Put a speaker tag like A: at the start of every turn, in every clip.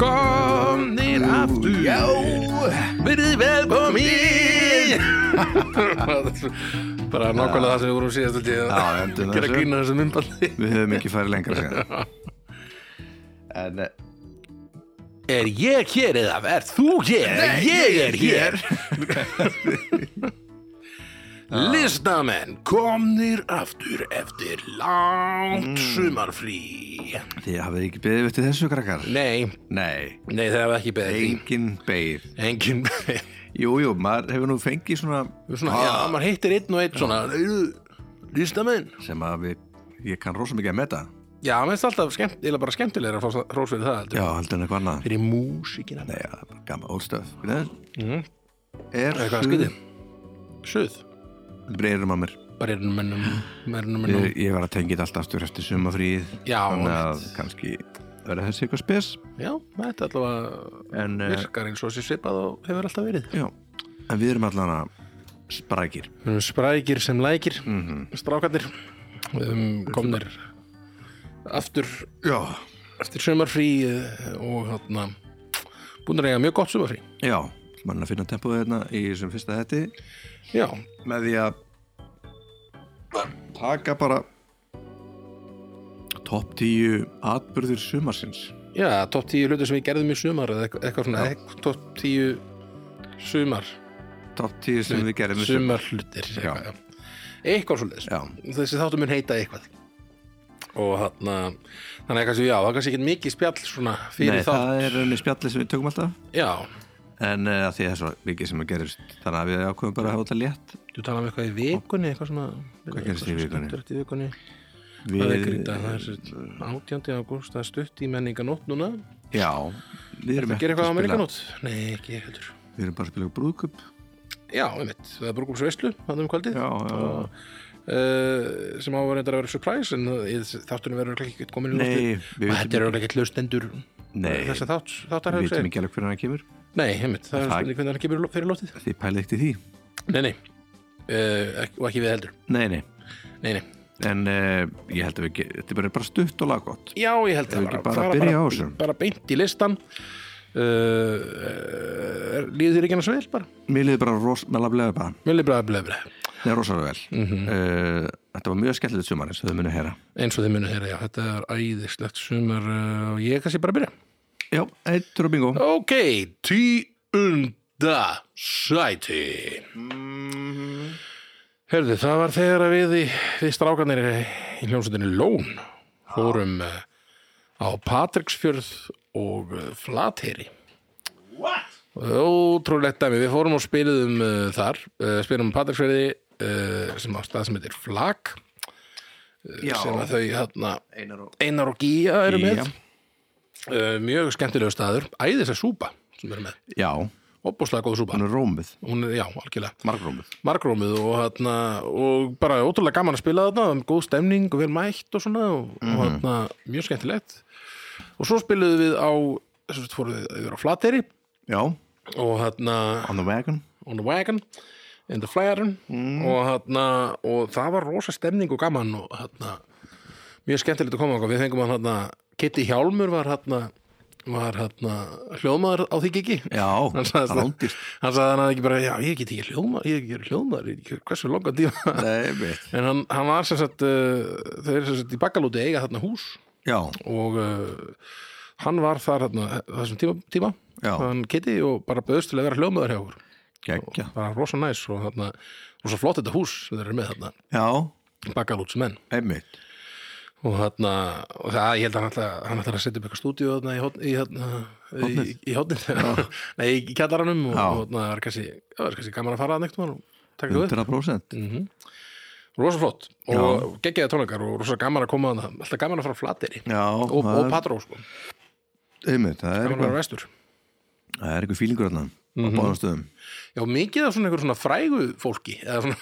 A: Komnir aftur
B: Já
A: Verðið velkomin Bara nákvæmlega það sem við vorum síðast út í að
B: Já, endum
A: gera
B: þessu.
A: grína þessu myndballi
B: Við höfum ekki farið lengra síðan En eh,
A: Er ég hér eða er þú hér? Nei, ég er hér Listamenn komnir aftur eftir langt
B: Mm.
A: sumarfrí
B: Þið hafið ekki beðið eftir þessu krakkar
A: Nei,
B: Nei,
A: nei það hef ekki beðið því.
B: engin beir
A: Engin
B: Jú, jú, maður hefur nú fengið svona, Ah.
A: Svona, já, maður hittir einn og einn svona "Heyrðu, Listamenn
B: sem að við, ég kann rosa mikið að meta
A: Já, mér finnst alltaf skemmt, eða bara skemmtilegra að fá hrós fyrir það heldur.
B: Já, heldur en eitthvað annað
A: Fyrir músíkina
B: Nei, já, gammal, old stuff mm. Er
A: Eða hvað
B: suð-
A: skriði? Suð
B: Breirum að mér
A: Bara erum mennum, mennum, mennum
B: ég, ég var að tengja þetta allt aftur eftir sumafríð
A: Já,
B: Þannig að kannski verða þessi eitthvað spes
A: Já, þetta allavega
B: En, uh,
A: virkar eins og sér svipað og hefur alltaf verið
B: já, en við erum allan að sprækir
A: Við erum sprækir sem lækir
B: Mhm.
A: strákarnir Við erum komnir aftur
B: Já,
A: eftir sömarfrí og hérna búin að reyja mjög gott sömarfrí
B: já mann að finna tempoðu hérna í þessum fyrsta þetti
A: Já,
B: með því að taka bara topp tíu atbyrðir sumarsins
A: já, topp tíu hluti sem við gerðum í sömar eða eitthvað- eitthvað svona, topp tíu sömar
B: topp tíu sem við gerum við
A: sumar hlutir eitthvað, já. eitthvað svoleiðis
B: Já.
A: þessi þáttum mun heita eitthvað og þarna þannig að kannski, já, það er kannski ekki mikið spjall svona fyrir
B: Nei,
A: þátt
B: það er enni spjalli sem við tökum alltaf
A: já,
B: en uh, því það er svo mikið sem að gerist þannig að við ákveðum bara að hafa þetta létt
A: þú talaði um eitthvað í vikunni eitthvað svona
B: Hvað gerist í
A: eitthvað
B: vikunni?
A: stutt í vikunni það er
B: við,
A: grýta, það er sem sagt 18. ágúst það er stutt í menninganótt núna
B: já, við erum
A: gera
B: ekkert
A: eitthvað á
B: spila-
A: menninganótt? Nei, ekki heldur
B: við erum bara að spila brúðkup
A: já, einmitt, það er brúkumsveislu hann um kvöldið
B: já, já,
A: Uh, sem á að vera að vera surprise en uh, í þáttunum verður örugglega ekki komin í
B: Nei, við
A: loftið. Og
B: vitum
A: þetta eru örugglega ekki hlustendur
B: Nei.
A: þess að þátt, þáttar
B: við
A: hefur
B: veitum
A: segið
B: ekki alveg hvernig hann kemur
A: nei, heimitt, það er
B: Það-
A: spurning hvernig hann kemur í lo- fyrir lótið
B: þið pælið ekkert í því
A: nei, nei, uh, ekki, og ekki við heldur
B: nei, nei,
A: nei, nei,
B: en uh, ég held að við ge- þetta er bara- bara stutt og laggott
A: já, ég held
B: Ef ekki bara byrja á þessu?
A: bara beint í listan uh, uh, líður þér ekki annars vel bara
B: mér liði bara rosmalega bara
A: mjög libraði blöfri
B: Nei, rosalega vel. Mm
A: Mhm.
B: þetta var mjög skemmtilegt sumarins, þau munu heyra.
A: eins og þið munu heyra, já, þetta er æðislegt sumar uh, og ég er kannski bara að byrja
B: Já, eittur og bingo.
A: Ok, tíunda sæti Herðu, það var þegar að við, í- við strákanir í hljómsveitinu Lón fórum eh, á Patricksfjörð og eh, Flateyri What? Ótrúlegt dæmi, við fórum og spiluðum uh, þar, uh, spiluðum á Patricksfjörði uh, sem á stað sem heitir Flak
B: Já.
A: sem að þau hérna
B: Einar og...
A: Einar og Gía eru með
B: Gía.
A: uh, mjög skemmtilegu staður æðis að súpa sem eru með
B: Já,
A: opbúslega góð súpa
B: hún er rómuð,
A: hún er, já, algjörlega,
B: margrómuð.
A: margrómið og, hana, og bara ótrúlega gaman að spila þarna góð stemning og vel mætt og svona og, og hana, mjög skemmtilegt og svo spiluðum við á þess að fóruð við yfir á Flateri
B: Já,
A: og hérna
B: on the wagon.
A: on the wagon in the flyer
B: Mm.
A: og, hana, og það var rosa stemning og gaman og hana, mjög skemmtilegt að koma og við fengum hann hana, Kitty Hjálmur var hana, var hana, hljóðmaður á því gigi
B: Já,
A: hann sagði
B: rándýrt.
A: hann sagði hann hafði ekki bara já, ég get ekki hljóðmaður, ég get ekki hljóðmaður ég get ekki hversu longan tíma
B: Nei, veit.
A: en hann, hann var sem sagt uh, þau eru sem sagt í bakkalúti eiga þarna hús
B: Já,
A: og uh, hann var þar þarna, eh, þessum tíma, tíma.
B: Já.
A: hann Kitty og bara bauðst til að vera hljóðmaður hjá okkur
B: geggja.
A: bara rosa næs og þarna rosa flott þetta hús sem þeir eru með þarna
B: Já,
A: bakkalútsmenn
B: einmitt.
A: og þarna og það, ég held að hann ætla- hann ætlar að setja upp eitthvað stúdíu þarna í hotn í, hotn, í, í hotnin nei, í kjallaranum og,
B: Já.
A: og þarna er kannski, já, það er kannski gaman að fara þarna eitthvað og taka það upp
B: 100%.
A: rosa flott og geggjaði tónleikar og rosa gaman að koma þarna alltaf gaman að fara á flateri
B: Já,
A: og,
B: það
A: og
B: er-
A: patró sko
B: einmitt. Það er
A: gaman að
B: eitthvað,
A: vera vestur
B: það er eitthvað fílingur þarna
A: Mhm.
B: á báðum stöðum.
A: já, mikið af svona einhver svona frægu fólki eða svona,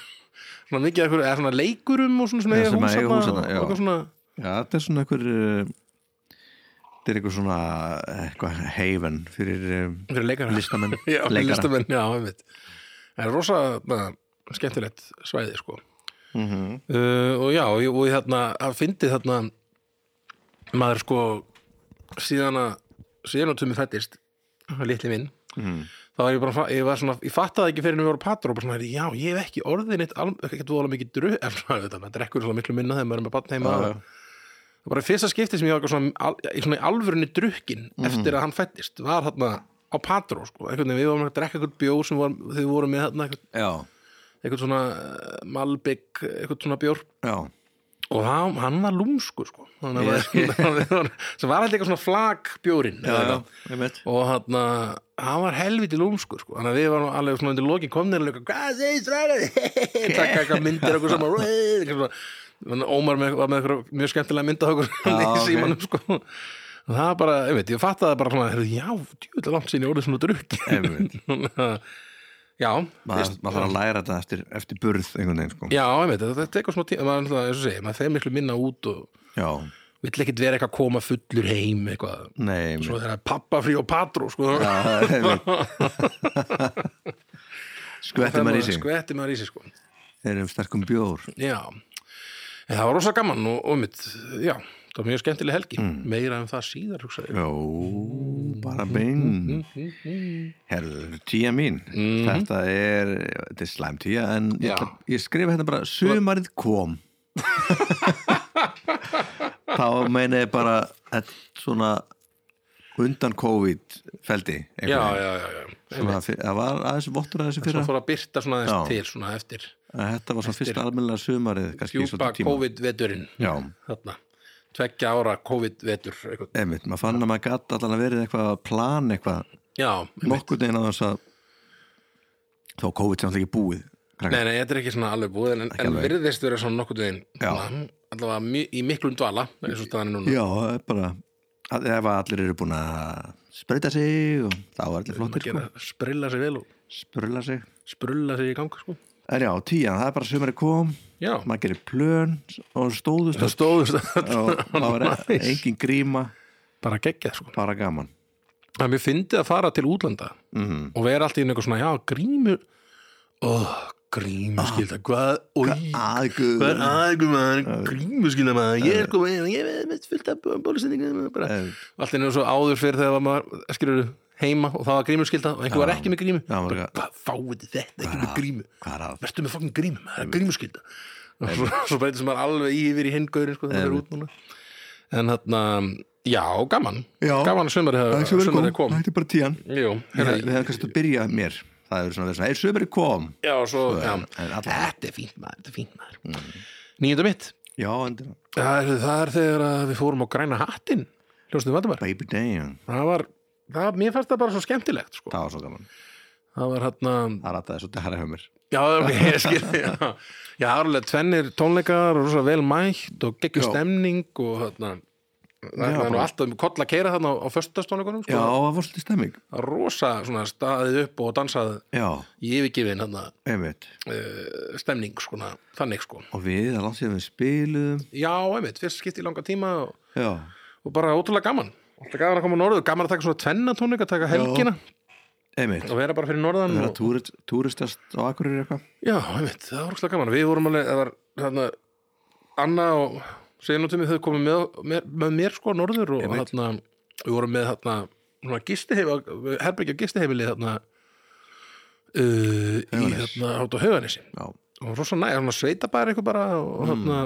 A: svona mikið af einhver, eða svona leikurum og svona sem
B: Já,
A: eiga
B: sem
A: hús
B: eiga
A: þarna
B: hús þarna,
A: og
B: já.
A: eitthvað svona
B: Já, þetta er svona eitthvað, uh, þetta er eitthvað svona, eh, eitthvað heifan fyrir um,
A: fyrir leikara
B: listamenn.
A: já,
B: leikara.
A: listamenn, já, einmitt það er rosa na, skemmtilegt svæði sko.
B: Mhm.
A: hérna, uh, og já, og, ég- og ég þarna að fyndi þarna maður sko síðan að síðan að Tumi fættist litli minn
B: Mm.
A: þá var ég bara, að fa- ég var svona, ég fattaði ekki fyrir en við vorum patur og bara svona, heyrðu, já, ég hef ekki orðin eitt alveg, ekki vola mikið dröð en svona, þetta, maður drekkur svona miklu minna þegar maður er með batn heima
B: Já, já.
A: það bara fyrsta skipti sem ég var eitthvað svona, al, í svona í alvörunni drukkin eftir að hann fættist, var þarna á patró, sko, einhvern veginn, við vorum að drekka einhvern bjóð sem var, þið vorum með þarna einhvern,
B: Já,
A: einhvern svona eh, Malbygg, einhvern svona bjór
B: já,
A: og hann, hann var lúmsku, sko þannig að það var, sem var alltaf eitthvað svona flak bjórin
B: já, já, ég veit
A: og hann, hann var helviti lúmskur sko. þannig að við varum alveg svona undir loki komnir og hvað segir stræðið takk eitthvað myndir okkur saman "Hey", eitthvað svona. Þannig að Ómar með, var með eitthvað mjög skemmtilega mynda okkur í
B: ok.
A: símanum sko. og það var bara, ég veit, ég fattaði bara svona, heyrðu, já, djúvilega langt sín ég orðið svona drukki
B: Einmitt.
A: já,
B: Eh, Maður maður þarf að læra þetta eftir, eftir burð einhvern veginn, sko
A: já, ég veit, þetta tekur smá tíma maður, er náttúrulega, eins og segja, maður þegar miklu minna út og
B: Já,
A: vill ekkit vera eitthvað að koma fullur heim eitthvað,
B: nei einmitt.
A: svo þegar pappa frí og patrú sko,
B: Já, einmitt. Skvettir maður í sig
A: skvetti maður í sig sko.
B: Þeir eru um sterkum bjór
A: Já, en það var rosa gaman og, og mitt, já, það var mjög skemmtileg helgi,
B: Mm.
A: meira en það síðar, hugsaði.
B: Já, bara bein Herðu, tíja mín Þetta er, þetta er slæm tíja En ég,
A: Mhm. Já.
B: ætla- ég skrifa hérna bara Sumarið kom Þá meina ég bara þetta Svona Undan COVID feldi
A: Já, já, já, já, já.
B: Svona, fyr- það var aðeins vottur að þessu
A: Svo
B: fyrra
A: fór að byrta svona aðeins
B: Já.
A: til, svona eftir
B: að Þetta var svona fyrsta almennilega sumarið kannski í
A: djúpa
B: svolítið tíma.
A: COVID-veturinn,
B: Já,
A: þarna, tveggja ára COVID-vetur, eitthvað.
B: einmitt, maður fann að maður gatt allan að verið eitthvað að plan eitthvað
A: Já, einmitt.
B: nokkur deginn á þess að þá COVID sem alltaf ekki búið
A: nei,
B: krakkar.
A: nei, þetta er ekki svona alveg búið, en, en
B: alveg.
A: virðist vera svona nokkuð veginn,
B: Já.
A: svona, allavega mi- í miklum dvala, eins og staðan er núna.
B: Já, það er bara að- ef að allir eru búin að spreita sig og þá er allir
A: Maður
B: flottir sko,
A: gera, sprilla sig vel og
B: spurla sig
A: sprulla sig í gang, sko.
B: En já, tíjan, það er bara sumari kom
A: Já,
B: maður gerir plön og stóðust
A: það
B: öll
A: stóðust að
B: og það var e- engin gríma
A: bara geggjað, sko.
B: bara gaman
A: Það er mér fyndið að fara til útlanda
B: Mhm.
A: og vera alltaf í einhver svona, já, grímur oh, grímur
B: Ah,
A: skilda hvað, oi, hvað er
B: aðguð
A: aðgum maður grímur skilda maður, ég er komið ég er með fullt af bólusendingum bara.
B: Eh.
A: allt er nú svo áður fyrir þegar var maður skilur heima og það var grímur skilda og einhver var ekki með grímu
B: Já, maður
A: Bara,
B: eitthvað-
A: hvað fáið þið þetta, ekki með grímu
B: Hvað er að?
A: verður með fokkin grímu, maður er grímur skilda og svo, svo breytir sem maður alveg í yfir í hindgaurin sko, þegar maður er út núna en þarna, já, gaman
B: Já.
A: gaman að sumarið
B: Sumari
A: sumarið
B: kom,
A: kom
B: þetta er bara tíjan
A: Jú, hérna,
B: Við hefum kannski að byrja mér Það er svona að vera svona, ei, sumari kom
A: Já, svo, já.
B: en alla-
A: Þetta er fínt maður, þetta er fínt maður. Nýjunda mitt,
B: Já, endur
A: Mm. það er, það er þegar að við fórum á græna hattin, hljóstum Valdimar.
B: Baby Damn
A: Það var, það, mér fannst það bara svo skemmtilegt, sko.
B: Það var svo gaman
A: Það var hérna,
B: Það rataði svo dæra hjá mér
A: já, ok, ég skil, já. Já, það var alveg tvennir tónleikar og rosa vel mætt og geggjum
B: Já.
A: stemning og hérna, það
B: Já,
A: var nú
B: bara-
A: alltaf um koll að keira þarna á, á föstastónleikunum,
B: Já,
A: sko.
B: það var svolítið stemming
A: Það rosa svona staðið upp og dansað
B: Já,
A: í yfirgifin, hérna,
B: einmitt
A: uh, stemning, sko, þannig, sko.
B: Og við, það langt sér við spiluðum
A: Já, einmitt, fyrst skipti í langa tíma og
B: Já,
A: og bara ótrúlega gaman alltaf gaman að koma á norðu, gaman að taka svona tvenna tónleika taka helgina
B: einmitt
A: og vera bara fyrir norðan
B: Það er að
A: og...
B: túrist, túristast á Akureyri eitthvað
A: já, einmitt, það var ótrúlega gaman við vorum alveg, það var hérna, Anna og Seinutumi þau komið með, með, með mér sko á norður og
B: Einmitt.
A: hérna, við vorum með hérna, svona gistiheimili herbyggja gistiheimili hérna, uh, í
B: Hauganes.
A: hérna, hát á hauganissi
B: Já,
A: og rosa næ, svona sveitabæri eitthvað bara og hérna,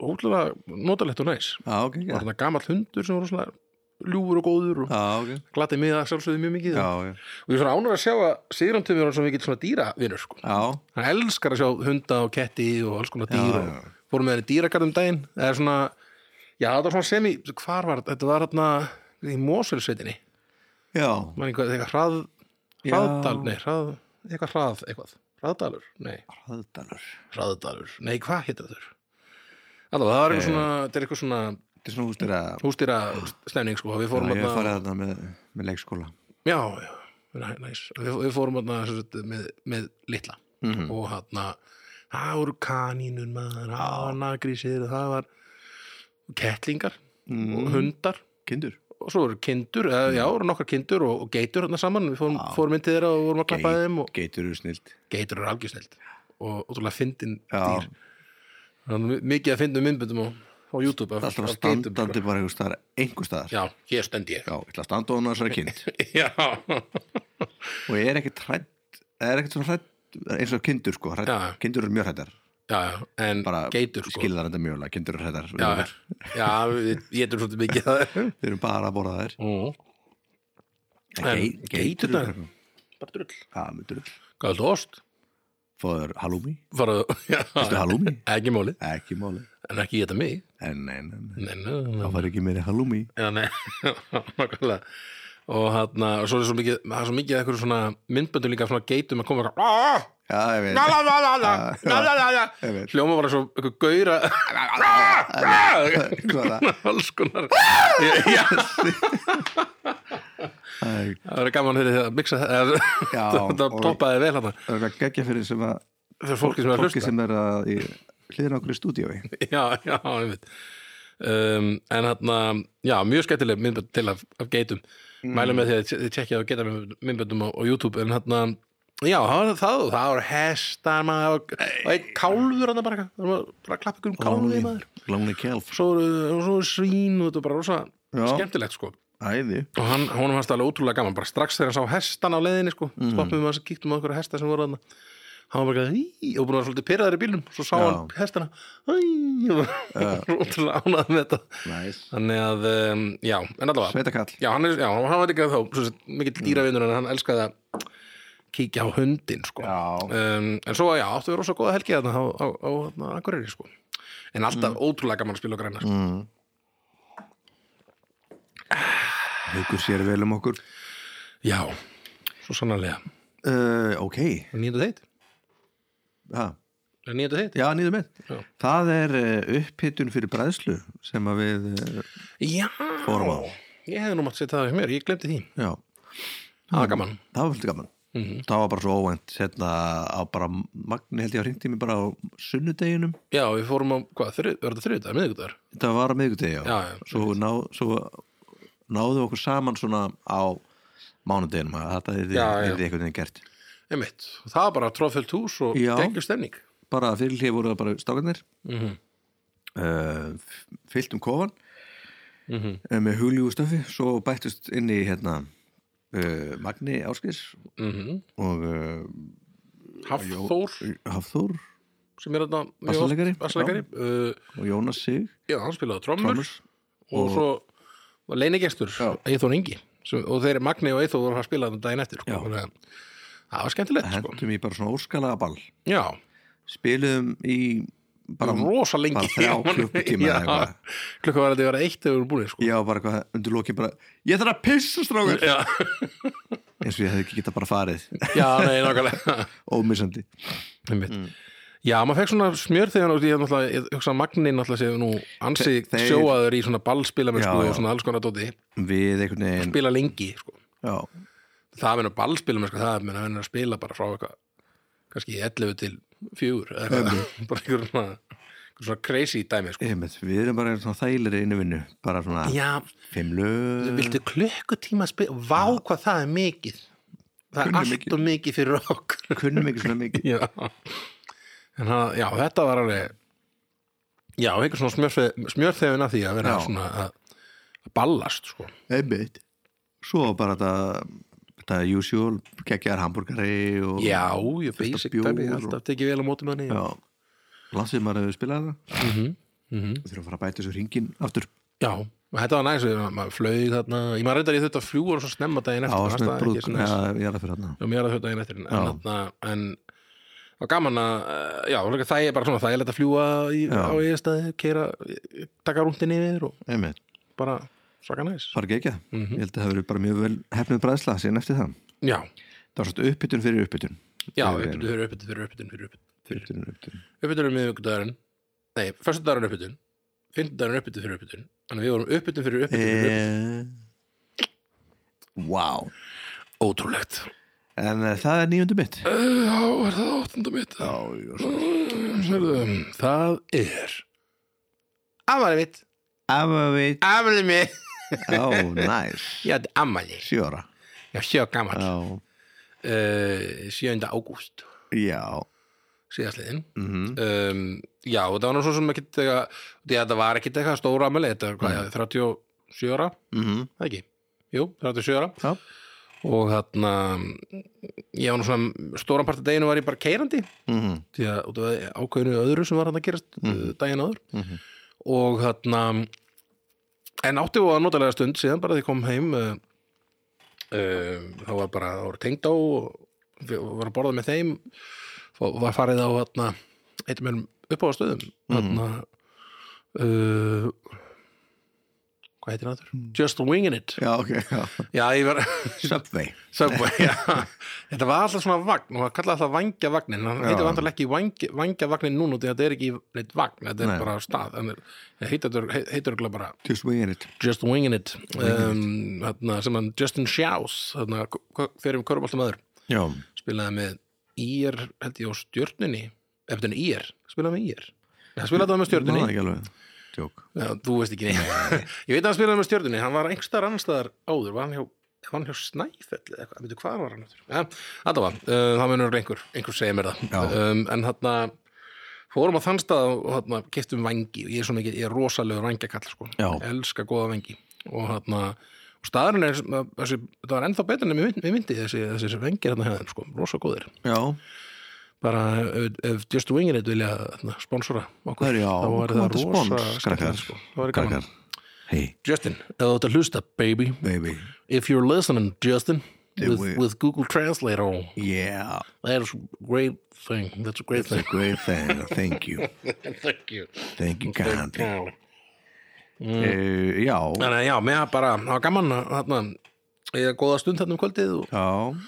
A: ótrúlega notalegt og næs
B: já, ok,
A: og
B: já
A: hérna gamall hundur sem voru svona ljúfur og góður og
B: Já, ok
A: glatið miða sjálfsögðu mjög mikið
B: Já, já,
A: og ég er svona ánur að sjá að Sigrun Tumur er svona mikill svona dýravinur sko.
B: já,
A: hann elskar að sjá hunda og ketti og alls konar dýr
B: Já,
A: og
B: já.
A: fórum með henni dýragarðum daginn það er svona, já þetta var svona semi hvar var þetta, þetta var hérna í Mosfellsveitinni,
B: já
A: mann eitthvað eitthvað hrað
B: Já.
A: hraðdal, nei hrað, eitthvað hrað eitthvað, hraðdalur, nei
B: Hraðdalur
A: hraðdalur, nei hvað hétta þur allavega það var eitthvað svona, þetta er eitthvað svona
B: Þetta er svona hústir að
A: hústýra stemning sko, við fórum
B: Ég hef
A: hérna
B: farið þarna með, með leikskóla
A: já, já, næ- næs við, við fórum hana, sagt, með, með litla
B: Mhm.
A: og hana það voru kanínun maður hanagrísir, það var kettlingar
B: Mhm.
A: og hundar
B: Kindur
A: og svo voru kindur, eða,
B: Mhm.
A: já, voru nokkar kindur og, og geitur hérna saman, við fórum, fórum inn til þeirra og vorum að klappa
B: Geit-
A: þeim og
B: Geitur eru snilt
A: geitur eru algjörsneld og ótrúlega fyndin
B: Já.
A: dýr Þannig, mikið að fyndum myndbundum og um á YouTube af-
B: alltaf
A: af geitum, sko.
B: standandi bara einhver staðar, einhver staðar.
A: Já, hér stend ég
B: Já, ég ætla að standa ofan á þessari kind
A: Já,
B: og ég er ekkert hrætt er ekkert svona hrætt eins og kindur sko, hrætt,
A: Já.
B: kindur eru mjög hrættar
A: já, já, en
B: bara
A: geitur sko
B: skilðar þetta mjög alveg, kindur eru hrættar
A: Já, já, við getum svolítið mikið það
B: við erum bara að borða þær
A: Mhm. En
B: Gei-
A: geiturnar-
B: eru-
A: Bara drull
B: Já, með drull.
A: Hvað er þú ost?
B: Fóður halloumi,
A: Faraðu, já,
B: veistu halloumi?
A: ekki máli
B: Ekki máli
A: En ekki geta mig
B: En nei, nei, nei,
A: Nei, nei, nei,
B: það var ekki meiri halloumi
A: Já, nei, nákvæmlega og hann, svo er svo mikið það er svo mikið eitthvað svona myndböndu líka af svona geitum að koma eitthvað "Ah,
B: Já, ég veit
A: la, la, la, la, la, la, la, la,
B: Ég
A: la."
B: veit.
A: hljóma bara svo eitthvað gauðra
B: Hvað er
A: alls konar Ég- já,
B: það?
A: það verður gaman fyrir því að mixa það
B: Já,
A: þetta
B: og-
A: poppaði vel hann
B: Það er geggja fyrir sem að
A: fyrir fólki sem er að
B: fólki
A: hlusta
B: sem er að í hliðin okkur í stúdíói
A: já, já, ég veit um, en hann, já, mjög skemmtileg myndbönd til af, af geitum mælum með því að þið tjekkja að geita myndböndum á, á YouTube en hann Já, það var það, það var hestar maður og og einn kálfur hann bara, eitthvað. það var bara að klappa ykkur um kálfið maður
B: Lonely Kelf
A: svo eru og svo eru svín og þetta er bara rosa
B: Já.
A: skemmtilegt sko
B: Æði
A: og hann, honum fannst það alveg ótrúlega gaman bara strax þegar hann sá hestan á leiðinni sko
B: Mhm.
A: mm. stoppum við að kíktum á okkur hesta sem voru hann hann var bara eitthvað, "Í", og búin að vera svolítið pyrraður í bílnum svo sá
B: Já.
A: hann hestana "Í", og var ótrúlega ánað með þetta
B: Næs
A: þannig að, um, já, en allavega
B: Sveitakall
A: já, hann, er, já, hann var líka þá svo sem
B: Mm.
A: mikill dýravinur en hann elskaði að kíkja á hundin sko
B: Já
A: um, en svo já, áttu við rosa góða helgi þarna á, á, á, á Akureyri sko en
B: Mm.
A: alltaf ótrúlega gaman að spila og græna sko.
B: Haukur sér vel um okkur
A: já, svo sannarlega
B: uh, Ok
A: nýjöndu þeitt,
B: ha.
A: nýjöndu þeitt
B: Já, nýðum
A: Já.
B: með Það er uh, upphittun fyrir bræðslu sem að við uh,
A: já,
B: fórum á
A: ég hefði nú mátt setja það hjá mér, ég glemti því
B: Já, Mm.
A: það var gaman,
B: það var svolítið gaman
A: Mhm.
B: Það var bara svo óvænt hérna á bara Magni held ég að ringti mig bara á sunnudeginum
A: já, við fórum á hvað, þrið, var þetta þriðdagar, miðvikudagar
B: Þetta var að miðgudegi
A: Já, já.
B: svo, ná, svo náðu okkur saman svona á mánudeginum að þetta er
A: Já, já.
B: einhvern veginn gert
A: einmitt, og það var bara tróðfjöld hús og
B: Já.
A: geggjur stemning
B: bara fyrir hlið voru það bara stákarnir
A: Mhm.
B: uh, fyllt um kofan
A: Mhm.
B: uh, með hugljúgu stöfi svo bættust inn í hérna uh, Magni Áskis
A: mm -hmm.
B: og uh,
A: Hafþór,
B: Hafþór
A: sem er þarna mjög oft-
B: Bassaleikari, já.
A: bassaleikari, uh,
B: og Jónas Sig
A: já, hann spilaði trommur
B: Thomas
A: og svo var leinigestur
B: Já.
A: Eithor Ingi sem, og þeir eru Magni og Eithor voru að spila þetta daginn eftir sko.
B: Já.
A: Þannig að það var skemmtilegt sko.
B: hentum í bara svona óskalega ball
A: já,
B: spiluðum í bara,
A: rosa lengi
B: bara þrjá klukkutíma eða eitthvað.
A: klukka var að þetta vera eitt ef við voru búin sko.
B: já bara hvað, undir lokið bara ég þarf að pissa strákur
A: já,
B: eins og ég hefði ekki getað bara farið
A: já, nei, nákvæmlega
B: ómissandi
A: mm. já, maður fekk svona smjör þegar hann- ég hef náttúrulega, ég hugsa að Magni náttúrulega sé nú ansi
B: Þe- þeir-
A: sjóaður í svona ballspilamennsku
B: Já, já.
A: og svona alls konar dóti
B: við einhvern veginn
A: spila lengi, sko
B: já,
A: það að vinna ballspilamennsku, það að vinna að spila bara frá eitthvað, kannski 11 til 4, eða eitthvað, bara einhver svona, einhver svona crazy dæmi, sko
B: einmitt, við erum bara svona þægilegri innu vinnu bara svona
A: Já,
B: fimm lög
A: viltu klukkutíma að spila Vá hvað það er mikið Það er
B: Kunni
A: allt
B: mikið.
A: og mikið fyrir okkur
B: kunnum ekki svona mikið
A: Já En það, já, þetta var alveg Já, einhver svona smjörþe- smjörþefin af því að vera
B: Já.
A: svona að að ballast, sko
B: einmitt svo bara þetta, þetta usual geggjar hambúrgari og
A: Já, ég
B: fullt af
A: basic
B: bjór
A: dæmi, alltaf tekið vel á mótum henni
B: já, landsið maður hefur spilað það
A: mm -hmm.
B: við þurfum að fara að bæta þessu ringin aftur
A: Já, og þetta var næs maður maður flaug þarna, ég maður reyndar ég þurfti að fljúa og svo snemma daginn
B: á
A: eftir mér fannst
B: svona
A: það ekki
B: brúk
A: svo næs.
B: já, ég er að fyrir þarna
A: Já, mér er að þetta daginn eftir en,
B: Já.
A: þarna, en það var gaman að eh, já, líka það er bara svona, það er lett að fljúa í,
B: Já.
A: á ég staði, keira taka rúntin yfir og
B: einmitt,
A: bara svaka næs
B: fara geggja ég held að það verið bara mjög vel hefnum bræðsla síðan eftir það
A: Já,
B: það var svona uppbytun fyrir uppbytun
A: já,
B: Fyrir
A: uppbytun fyrir uppbytun fyrir uppbytun fyrir uppbytun
B: uppbytun, uppbytun.
A: uppbytun er miðvikudagurinn, nei, föstudagurinn uppbytun fimmtudagurinn uppbytun fyrir uppbytun þannig að við vorum uppbytun fyrir uppbytun fyrir uppbytun
B: Eh, wow Eh.
A: Ótrúlegt
B: en eh, það er nýjöndu mitt
A: Eh, Já, er það áttunda mitt?
B: já, já, svo
A: Sérðu, það er Afmæli mitt
B: Afavit
A: Afmæli mitt
B: Ó, næs
A: Já, þetta er afmæli
B: Sjóra
A: Já, sjö gammal
B: Já,
A: Eh, uh, 7. ágúst
B: já Eh,
A: síðastliðin um, já, og það var nú svo sem ekki þetta var ekki eitthvað stóra amali þetta var hvað, mm 37 ára
B: Mhm.
A: það ekki, jú, 37 ára
B: Já.
A: og þarna ég var nú svona, stóran part af deginu var ég bara keirandi
B: Mhm.
A: því að út af ákveðinu öðru sem var hann að gerast mm. daginn áður
B: Mhm.
A: og þarna en átti og að notalega stund síðan bara því ég kom heim uh, uh, þá var bara, þá voru tengd á og við- var að borða með þeim og var farið á þarna eitt með uppáðastöðum þarna uh, hvað heitir hann þurr? Just Wingin' It
B: Já, ok, já.
A: Já, ég var
B: Subway
A: Subway, já. Þetta var alltaf svona vagn og það kallaði alltaf vangjavagnin hann
B: Já.
A: heitir vantarlega ekki vangi- vangjavagnin núna því að þetta er ekki neitt vagn, þetta er
B: Nei.
A: bara stað en það heitir ekki bara
B: Just winging it
A: Just Wingin' It um, þarna, sem hann Justin Schaus þarna, fyrir um Köruboltamæður
B: Já,
A: spilaði með ír held ég á stjörnunni eftir enn ír, spilaði með ír hann spilaði það með
B: það
A: stjörnunni
B: ekki alveg Jók
A: Já, þú veist ekki neitt ég veit að hann spilaði með stjörnunni, hann var einhverstaðar annarstaðar áður, var hann hjá var hann hjá Snæfell eða eitthvað, veitu hvað var hann áttur ja, þetta var, uh, það munur einhver einhver segja mér það
B: Já.
A: um, en hann fórum á þann stað og hann keftum vangi og ég er svo mikið, ég er rosalegur vangjakall sko,
B: Já.
A: elska góða vangi og hann staðurinn er, þessi, það var ennþá betur en við myndi þessi, þessi vangir hann hefðum sko, rosa góðir
B: Já,
A: bara ef, ef Just Wingin it vilja hérna, sponsora okkur
B: Herjá,
A: þá var það
B: komandi spons,
A: rosa
B: krakkar.
A: skemmtilegt, sko. það var gaman
B: krakkar Hey,
A: Justin, ef þú ert að hlusta, baby
B: baby
A: If you're listening, Justin with,
B: we-
A: with Google Translate on
B: Yeah,
A: That's a great thing That's a great
B: it's a
A: thing
B: great thing Thank you,
A: Thank you
B: thank you kindly
A: Kindly.
B: uh, Já,
A: Þannig að já, mér bara, það var gaman að þarna eða góða stund þarna um kvöldið og
B: já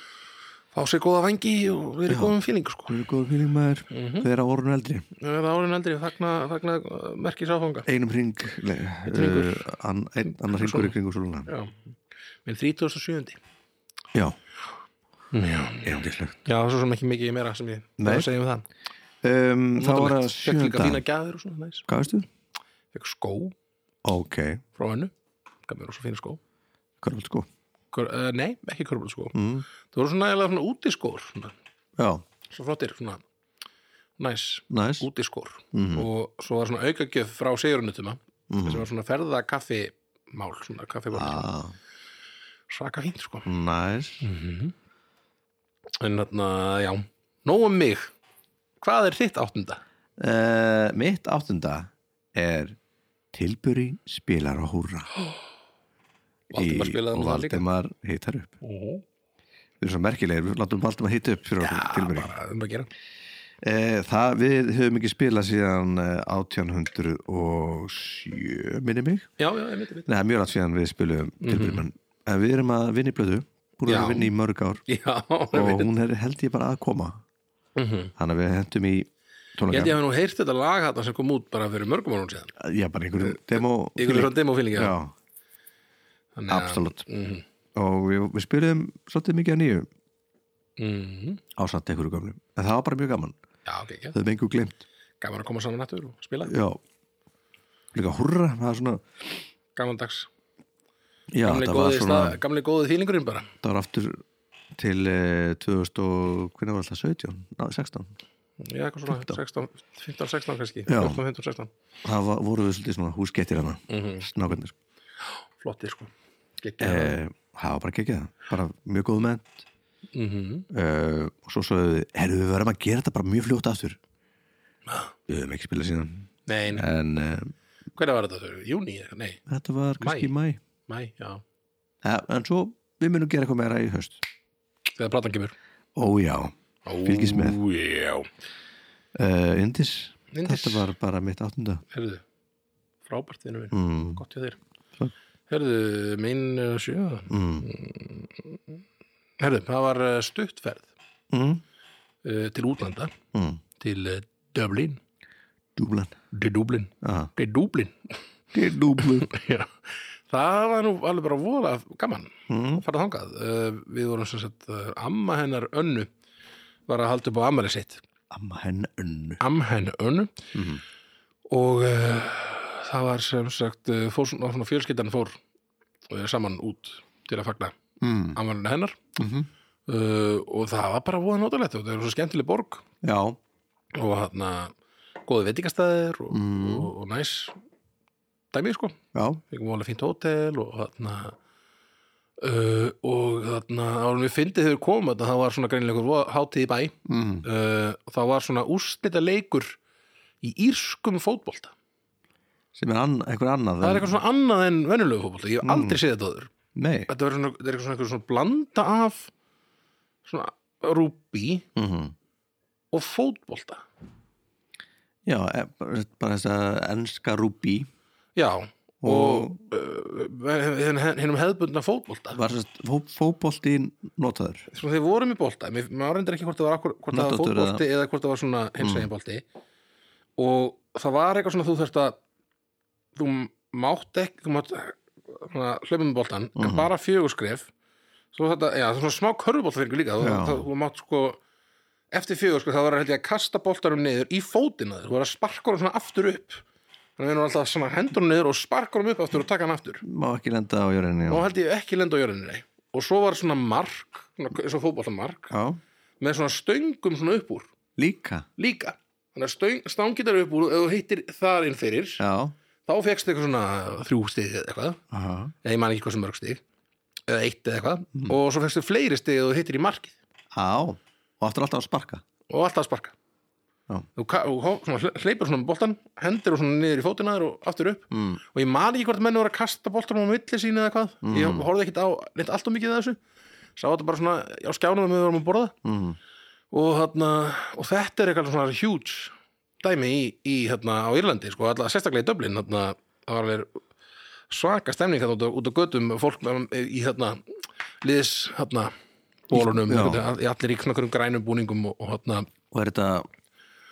A: fá sér góða vangi og verið góðum fílingu sko
B: Hvað er góður fyrir maður
A: Mhm.
B: þegar að orðin eldri
A: Það var árin eldri, fagna, fagna uh, merkis áfanga
B: Einum hring le-
A: hringur.
B: uh, ann- einn Annar hringur í kringu svoluna
A: Já, minn 37.
B: Já,
A: Já,
B: eindislegt
A: já svo sem ekki mikið meira sem ég
B: Nei.
A: það segja um það
B: um, Það var að
A: Notalegt. Fékk líka
B: sjönda
A: fína gæður og svona, næs
B: Hvað veistu?
A: Fekk skó
B: Ok,
A: frá hennu gaf mér rosa fína skó
B: hvað er sko?
A: Kör, uh, nei, ekki körbúl skó það voru svona eða svona útiskór svona,
B: Mm. Já,
A: svo flottir, svona næs,
B: næs Mhm.
A: útiskór
B: Mm.
A: og svo var svona aukagjöf frá sigurunutuma sem var svona ferða kaffimál svona kaffimál,
B: Ah,
A: svaka fínt sko
B: Næs
A: en þarna, já, nóg um mig hvað er þitt áttunda?
B: Uh, mitt áttunda er Tilbury spilar á húra
A: Valdimar spilaði nú
B: og
A: það líka.
B: Valdimar hittar upp
A: Ó.
B: Ah, við erum svo merkilegir, við látum Valdimar hitta upp fyrir okkur Tilbury
A: bara um að gera
B: uh, það, við höfum ekki spilað síðan eh, 1807 minni mig,
A: já, já, ég veit, ég veit
B: neða mjög langt síðan við spilum Tilbury menn, en við erum að vinna í blöðu búin
A: Mhm. Já.
B: að vinna í mörg ár
A: já, ég
B: og
A: veit
B: hún er held ég bara að koma
A: Mhm.
B: þannig að við hentum í
A: ég held
B: tónleika,
A: ég hafi nú heyrt þetta lag þarna sem kom út bara fyrir mörgum árum síðan
B: já bara einhverjum demo
A: ykkur er svona demofílingi
B: já, absolutt
A: Mhm.
B: og við, við spilum svolítið mikið að nýju
A: -hmm.
B: ásamt einhverju gamlu en það var bara mjög gaman,
A: Já, ok, ekki.
B: það er mengu glemt
A: Gaman að koma saman aftur og spila.
B: já, líka hurra það er svona,
A: Gamandags.
B: já,
A: Gamli
B: það var
A: góði,
B: svona
A: stað, gamli góði þýlingurinn bara.
B: það var aftur til eh, 2000 og hvernig var alltaf 17, ná, 16
A: Já, eitthvað svona 16, 15, 16 kannski.
B: Já.
A: 14, 15, 16.
B: það var, voru við svolítið svona húsgettir hana mm -hmm. snákarnir,
A: Flottir, sko. Gekki
B: Eh,
A: það.
B: það var bara geggjað bara mjög góð menn Eh.
A: Mhm.
B: uh, og svo sögðu við, herru við verðum að gera þetta bara mjög fljótt aftur við höfum ekki spilað síðan
A: Nei, nei.
B: en uh,
A: hvernig var þetta þau? Júni? Nei,
B: þetta var kannski í mæ
A: mæ, já.
B: Ja, en svo við munum gera eitthvað meira í höst
A: Þegar platan kemur.
B: Ó já,
A: Ó,
B: Fylgist með.
A: Já.
B: uh, Indis.
A: Indis.
B: Þetta var bara mitt áttunda
A: Herðu, frábært vinnu minn.
B: mm,
A: Gott hjá þér.
B: Takk.
A: Herðu, minn uh, sjöða.
B: mm,
A: Herðu, það var uh, stuttferð
B: mm,
A: uh, til útlanda,
B: mm.
A: til uh, Dublin.
B: Dúblan
A: Til Dublin.
B: ah.
A: Til Dublin.
B: Dúblan
A: Já, það var nú alveg bara vola gaman
B: mm,
A: að fara þangað uh, við vorum sem sagt, uh, amma hennar önnu var að halda upp á ammæli sitt
B: Amma henni önnu
A: amma hennar önnu
B: Mhm.
A: og uh, það var sem sagt uh, fór, svona, svona fjölskyldan fór uh, saman út til að fagna
B: mm.
A: ammælinu hennar Eh,
B: mm
A: uh, og það var bara voða notalegt og það er svo skemmtileg borg
B: Já,
A: og hann góði veitingastæðir og,
B: Mm-hmm.
A: og, og næs dæmi sko
B: Mm. já,
A: fengum alveg fínt hótel og þarna uh, og þarna árum við fyndið þegar við komum þarna, það var svona greinleikur hátíð í bæ
B: mm,
A: uh, það var svona úrslita leikur í írskum fótbolta
B: sem er ann, eitthvað annað
A: það er
B: en-
A: eitthvað svona annað en venjulegu fótbolta ég hef aldrei séð þetta áður
B: nei,
A: þetta er svona, þetta er eitthvað svona, eitthvað svona blanda af svona rúbí
B: mhm.
A: og fótbolta
B: já, e- bara bara þess að enska rúbí
A: já
B: Og-
A: og, og uh, hennum hefðbundna fótbolta
B: var sérst fó, fótbolti notaður
A: svona Sko, þeir voru með bolta mér, maður reyndir ekki hvort það var, akkur, hvort það var
B: Hnöttóttur
A: fótbolti eða hvort það var svona hinsvegin bolti og það var eitthvað svona þú þurft að þú mátt ekki þú mátt svona, hlaupa með boltan en bara fjögur skref svo þetta, já, það er svona smá körfubolta fyrir líka þú,
B: Já.
A: það, þú mátt sko eftir fjögur skref það var held ég að kasta boltanum niður í fótina þér, þú var að sparka hann svona aftur upp þannig að við erum alltaf svona hendur hann niður og sparka hann upp aftur og taka hann aftur
B: má ekki lenda á jörðinni
A: og
B: já,
A: held ég ekki lenda á jörðinni nei. og svo var svona mark, svona, svona fótboltamark
B: já.
A: með svona stöngum svona upp úr
B: líka
A: líka þannig að stöng, stangitar upp úr og ef þú hittir þar inn fyrir
B: já,
A: þá fegstu eitthvað svona þrjú stig eða eitthvað
B: aha,
A: eða ég man ekki hvað sem mörg stig eða eitt eða eitthvað og svo fegstu fleiri stig ef þú hittir í markið
B: á og aftur alltaf að sparka
A: og alltaf að sparka
B: Já.
A: þú ka- þú hó- svona hle- hleypur svona um með boltan hendur og svona niður í fótina þér og aftur upp
B: mm.
A: og ég man ekki hvort menn voru að kasta boltanum á milli sín eða hvað ég horfði ekkit á neitt allt og mikið af þessu sá þetta bara svona á skjánum að við vorum að borða
B: Mm.
A: og, þarna, og þetta er eitthvað svona huge dæmi í, í hérna, á Írlandi sko, alltaf sérstaklega í Dublin þarna, það var alveg svaka stemning hérna, út, á- út á götum fólk með- í hérna, liðs hérna, bólunum,
B: Já.
A: einhvern- allir í knakkurum grænum búningum og, og hérna,
B: og er þetta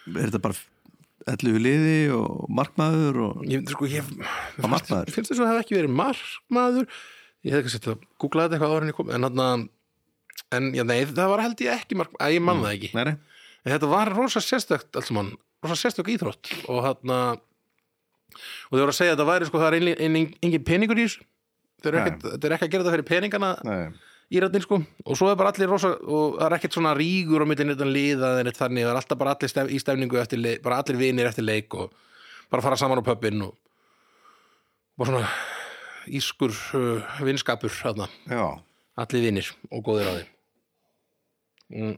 B: er þetta bara elluðu liði og markmaður og
A: ég, sko, ég,
B: Og markmaður.
A: finnst þess að það hef ekki verið markmaður ég hef ekki sett að googla þetta eitthvað áður en ég kom en, hérna, en já, nei, það var held ég ekki markmaður, ég man það ekki
B: Nei, nei.
A: En þetta var rosa sérstök allsumann, rosa sérstök íþrótt og þarna og þau voru að segja að þetta væri sko það er ein, ein, engin peningur í þessu þau eru
B: Nei.
A: ekkert, þau eru ekki að gera þetta fyrir peningana
B: Nei.
A: írættin sko og svo er bara allir rosa og það er ekkert svona rígur á um myndin utan liða en eitt þannig, það er alltaf bara allir stef, í stefningu eftir leik, bara allir vinir eftir leik og bara fara saman á pöppin og bara svona ískur uh, vinskapur þarna,
B: já,
A: allir vinir og góðir á þeim mm.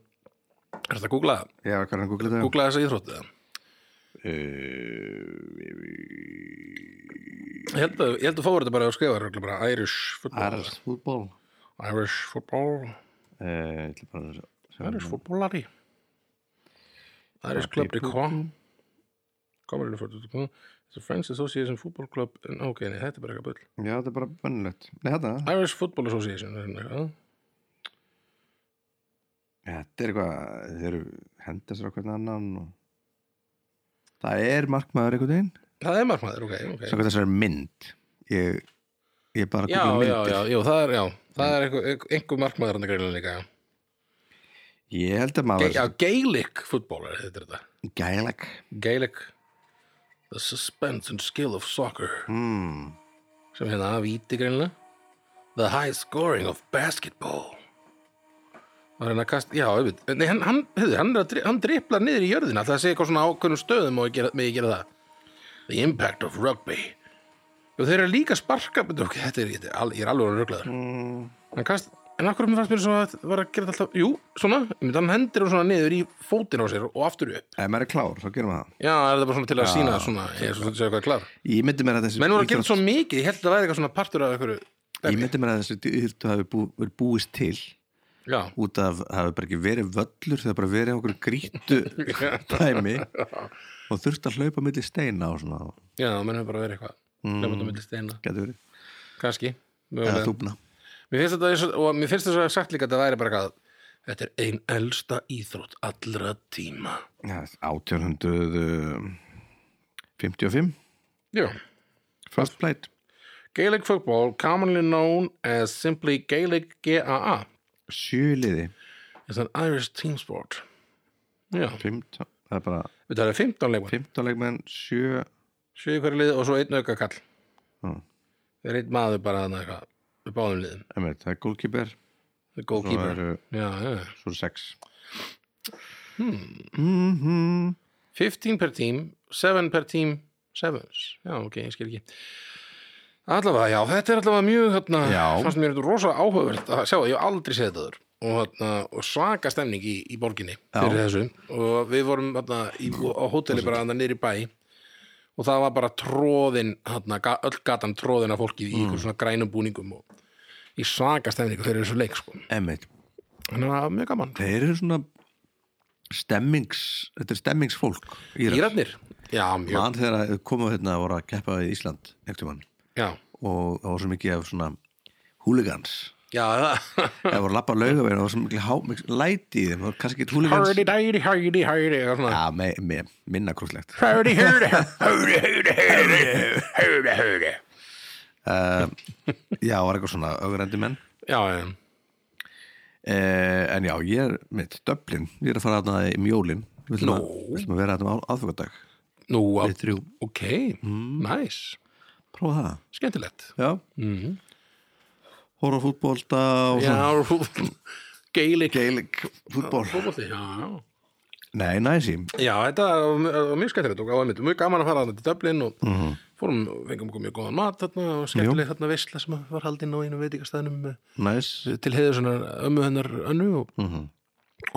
A: Er þetta að googla það?
B: ég var kannan að googla þetta
A: Googlaði þessa íþrótt eða?
B: Eh,
A: Ég held að, ég held að fáur þetta bara að skrifa örugglega bara Irish football
B: Ars fútból
A: Irish football
B: Eh,
A: Irish
B: Ars
A: footballari Irish club de Caen Commonly for the Caen The French Association Football Club en, Ok, nei, þetta er bara eitthvað bull
B: Já, þetta er bara bennilegt Nei, hérna. þetta,
A: Irish Football Association er hérna eitthvað.
B: þetta er eitthvað Þeir eru hendur sér á hvernig annan og... Það er markmaður einhvern veginn
A: Það er margmaður, ok, ok
B: Svo þessar mynd Ég, ég er bara að
A: Já,
B: googla
A: já,
B: myndir
A: já, já, það er, já Það er einhver, einhver margmaður hann að greina líka já.
B: Ég held að
A: Ge
B: maður
A: Já, Gaelic football er þetta er þetta
B: Gæleg
A: Gaelic The suspense and skill of soccer
B: mm.
A: sem hérna að víti greinlega The high scoring of basketball og hérna kast já, ég veit, nei, hann, hann, hefði, hann, er að dri- hann driplar niður í jörðina það sé eitthvað svona ákveðnum stöðum og gera, með ég gera það The impact of rugby og þeir eru líka að sparka betur, ok, þetta er, þetta er, al- ég er alveg orðinn ruglaður
B: Mm.
A: hann kast, en akkur fannst mér svo að það var að gera þetta alltaf, jú, svona ég myndi, hann hendir hún svona niður í fótinn á sér og aftur upp,
B: Ef maður er klár, þá gerum við það
A: já, er þetta bara svona til að sína svona, ég er svo þetta eitthvað klár
B: Ég myndi mér að þessi
A: menn voru að gera svo mikið, ég held að það væri eitthvað svona partur af einhverju
B: Ég myndi mér að þessi íþjóttu hafi bú, verið búist til
A: já,
B: út af, það hafi bara ekki verið völlur það hafi bara verið okkur grýttu dæmi og þurft að hlaupa milli steina og svona
A: já, það mennum bara verið eitthvað mm. lefnum milli steina,
B: getur verið,
A: kannski
B: eða
A: mögulega.
B: þúbna
A: mér finnst þetta, eins og- og mér finnst þess að sagt líka að það væri bara eitthvað þetta er ein elsta íþrótt allra tíma
B: Já, 1855
A: já,
B: First Plate
A: Gaelic football commonly known as simply Gaelic GAA
B: sjöliði
A: is an Irish team sport já,
B: 15, það er bara
A: við um talaðum 15 leikmann
B: 15 leikmenn, 7
A: 7 hverju lið og svo einn auka kall
B: Mm.
A: það er einn maður bara þarna eitthvað við báðum liðum,
B: emir, það er goalkeeper
A: the
B: svo
A: goalkeeper
B: eru
A: já, já, já
B: svo er 6 hmm. mm -hmm.
A: 15 per team, 7 per team, 7s. Já, ok, ég skil ekki. Allavega, já, þetta er allavega mjög, þarna,
B: Já.
A: fannst mér þetta rosa áhugavert að sjá, það, ég hef aldrei séð þetta þurr. Og, þarna, og svaka stemning í, í borginni
B: Já.
A: fyrir þessu og við vorum þarna, í, á hóteli bara þarna niður í bæ og það var bara tróðin þarna, ga- öll gatan tróðin af fólki í
B: Mm.
A: ykkur svona grænum búningum og í svaka stemningu fyrir þessu leik sko.
B: Emmett,
A: þannig að það var mjög gaman
B: þeir eru svona stemmings, þetta er stemmingsfólk Írar,
A: Írarnir? Já, mjög
B: mann þegar að komu hérna og voru að keppa í Ísland einhvern mann
A: Já,
B: og það var svo mikið af svona húligans
A: já það-
B: það voru lappa laugavegin og það var svo mikið há, mikið læti í þeim, það var kannski ekki húligans
A: Hurdy, hurdy, hurdy, hurdy og svona.
B: Já, me, me, minna krúslegt
A: Hurdy, hurdy, hurdy, hurdy, hurdy, hurdy, hurdy
B: uh, Já, var eitthvað svona ögrendi menn
A: Já, já,
B: uh, En já, ég er mitt döblin, ég er að fara þarna í mjólin Við ætlum að-
A: Nú.
B: við ætlum að vera þarna á aðfengardag
A: nú, á,
B: Við þrjú,
A: ok, nice
B: prófa það
A: Skemmtilegt
B: Já mm Hóra fútbolta og svona
A: Já, rú- Gaelic
B: Gaelic fútbol
A: fótbolti, já, já
B: Nei, næsi
A: Já, þetta var mjög- mjög skemmtilegt og það var einmitt mjög gaman að fara þarna til Dublin og
B: Mhm.
A: fórum, fengum okkur mjög góðan mat þarna og skemmtileg þarna veisla sem var haldin á einu veitingastæðnum eh,
B: Næs
A: til heiður svona ömmu hennar önnu og,
B: Mhm.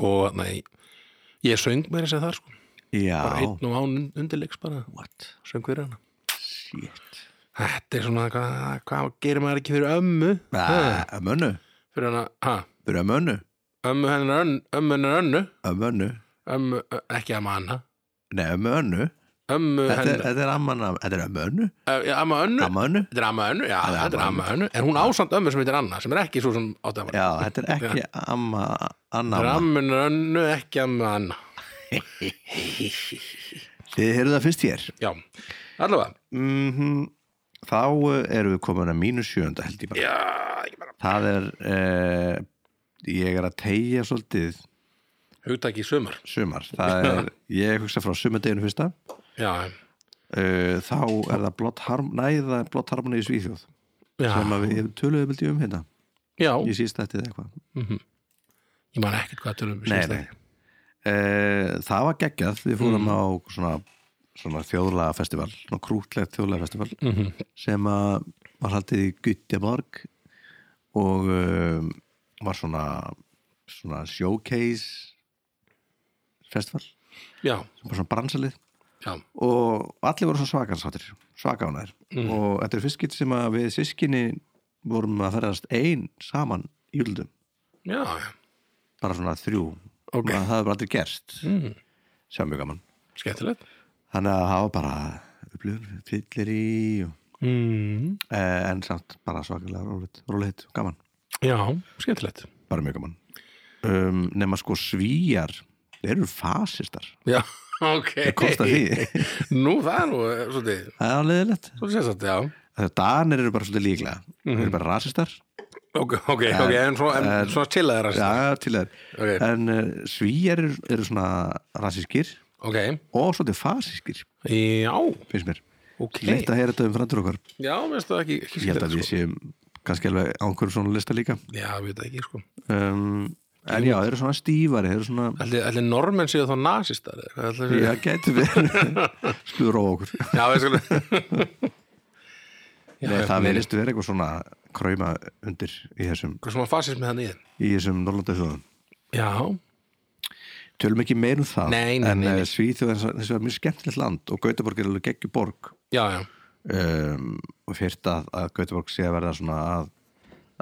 A: og nei, ég söng meira sem það sko,
B: Já
A: einn og án undirleiks bara,
B: What?
A: söng fyrir hana
B: Shit
A: Þetta er svona, hvað hva gerir maður ekki fyrir ömmu?
B: Ah, Að mönnu
A: Fyrir hana, ha,
B: Fyrir að mönnu
A: ömmu hennar önnu, ömmu hennar önnu,
B: Að mönnu
A: ömmu, ekki amma hana,
B: Nei, að mönnu
A: ömmu
B: Þetta er-
A: hennar,
B: þetta er amman Þetta er að mönnu
A: Ö, já, amma önnu,
B: Að mönnu
A: Þetta er amma önnu, já,
B: er
A: þetta er
B: amma
A: amma önnu En hún ásamt ömmu sem heitir Anna, sem er ekki svo sem átti að
B: Já, þetta er ekki amma Anna
A: Þetta er
B: amma.
A: ammun önnu, ekki amma Anna
B: Þið heyrðu það fyrst hér
A: Já, allavega
B: mm Þá eh, erum við komin að mínu sjönda held ég bara
A: Já, ekki bara
B: Það er eh, Ég er að tegja svolítið
A: Hugtaki í sumar
B: sumar það er, ég hugsa frá sumardeginu fyrsta
A: Já,
B: uh, þá er það blott harm, næða blott harmoni í Svíþjóð
A: já,
B: sem að við töluðum held ég um hérna
A: já Mhm.
B: í síst þetta eitthvað
A: Ég man ekkert hvað tölum við
B: nei,
A: síðast
B: nei. Uh, það var geggjað, við fórum á svona, svona þjóðlega festival svona krútlegt þjóðlega festival
A: Mhm.
B: sem að var haldið í Göteborg og um, var svona, svona showcase festival
A: Já,
B: sem var svona bransalið
A: já,
B: og allir voru svo svakarnsáttir svakánæður mm. og þetta er fyrst skitt sem að við sískinni vorum að ferðast ein saman í júldum
A: já, já
B: bara svona þrjú
A: Ok.
B: Maður- það hefur bara aldrei gerst mm. sjá mjög gaman
A: Mhm. Skemmtilegt
B: þannig að það var bara upplifun, fyllir í og,
A: mm.
B: eh, en samt bara svakalega rólegt, rólegt gaman,
A: Já, skemmtilegt
B: bara mjög gaman um, nema sko svíjar þeir eru fasistar
A: Já, ok
B: kostar því.
A: Nú, það er nú, eh, svolítið,
B: það er leðilegt
A: svolítið sérstætt, já
B: Danir eru bara svolítið líklega þeir eru bara rasistar
A: Ok, ok, ok, en svona, en, svona til að þeirra
B: Já, til þeir
A: Ok.
B: En uh, svíjar eru, eru svona rasískir
A: Ok,
B: og svolítið fasískir,
A: já,
B: finnst mér
A: ok Sko.
B: Leitt að heyra þetta um framtur okkar
A: Já, minnst það ekki, ekki
B: Ég held að
A: skemmtilegt,
B: við séum kannski alveg á einhverjum svona lista líka
A: sko. Já, við veit ekki, sko
B: um, En já, þeir eru svona stífari Þeir eru svona,
A: Ætli, ætli normenn séu þá nasistar eða hvað ætli
B: já,
A: við-
B: gæti verið Spuður á okkur
A: Já, við skulum Já,
B: Nei,
A: ég-
B: Það verðist verið eitthvað svona kræma undir í þessum,
A: Hvað svona fasismi þannig í þeim?
B: í þessum Norlanda þjóðum
A: Já,
B: Tölum ekki meir um það
A: Nei, nei,
B: En
A: nei, nei.
B: eh, Svíþjóð er þess að mjög skemmtilegt land og Gautaborg er alveg geggjuborg
A: já, já
B: um, og fyrst að, að Göteborg sé að verða svona að,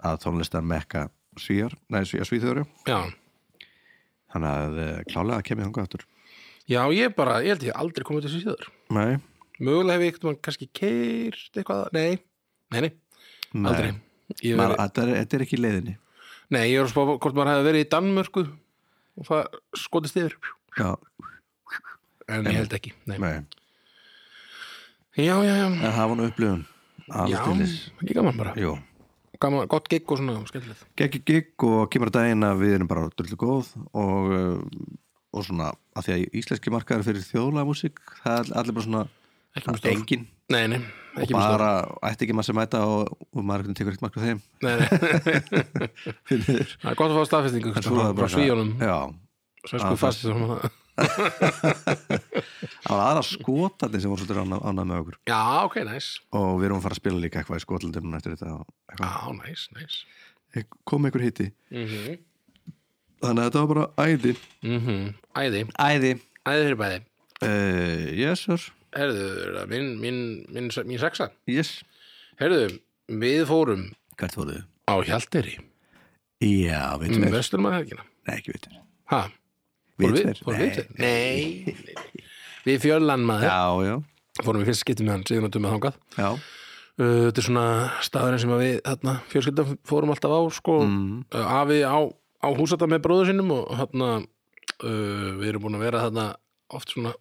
B: að tónlistar mekka svíjar, nei svíjar svíþjóður
A: Já,
B: þannig að uh, klálega kemur þangað aftur
A: já ég bara, ég held ég aldrei komið til þessu síður
B: nei,
A: Mögulega hef ég eitthvað kannski keirt eitthvað Nei, nei, nei,
B: nei.
A: aldrei ég
B: Maður,
A: veri,
B: þetta, er, þetta er ekki í leiðinni
A: Nei, ég er að spá hvort maður hefði verið í Danmörku og það skotist yfir
B: já,
A: En ég held ekki, nei
B: nei,
A: Já, já, já,
B: en það var nú upplifun
A: já,
B: alveg stillis
A: ekki gaman bara
B: Jú.
A: gaman, Gott gig og svona, skemmtilegt
B: geggi gig og kemur að daginn að við erum bara drullu góð og, uh, og svona, að því að íslenski markaður fyrir þjóðlega músík, það er allir bara svona
A: Ekki mjög stór
B: engin,
A: Nei, nei, ekki mjög stór
B: bara ætti ekki maður sem mæta og, og maður einhvern veginn tekur eitt marka þeim
A: Nei, nei Það er gott að fá staðfestingu sko,
B: Svo það
A: frá
B: bara-
A: svíjónum
B: já,
A: Svensku
B: það-
A: fastistum
B: Það var aðra skotarnir sem voru svolítið ánað, ánað með okkur
A: Já, ok, næs
B: og við erum að fara að spila líka eitthvað í skotlandum eftir þetta og eitthvað.
A: Já, næs, næs
B: Eh, kom einhver hitti þannig að þetta var bara æði
A: Mhm. Æði,
B: æði,
A: æði fyrir bæði
B: uh, yes sir
A: Herðu, er það minn, minn, minn, minn sexa
B: yes,
A: Herðu, við fórum
B: hvert fóruðu?
A: á Hjalderi
B: já, við
A: um
B: tveir,
A: Vesturmannhelgina
B: nei ekki við tveir
A: Hæ? Fórum við? Fórum við?
B: nei.
A: tveir? Nei, nei, nei. Við fjöllan maður
B: já, já,
A: Fórum við fyrst skipti með hann, síðan um að dumma þangað
B: já
A: Uh, Þetta er svona staðurinn sem að við þarna, fjölskylda fórum alltaf á sko, mm. afi á, á húsata með bróður sínum og þarna uh, við erum búin að vera þarna oft svona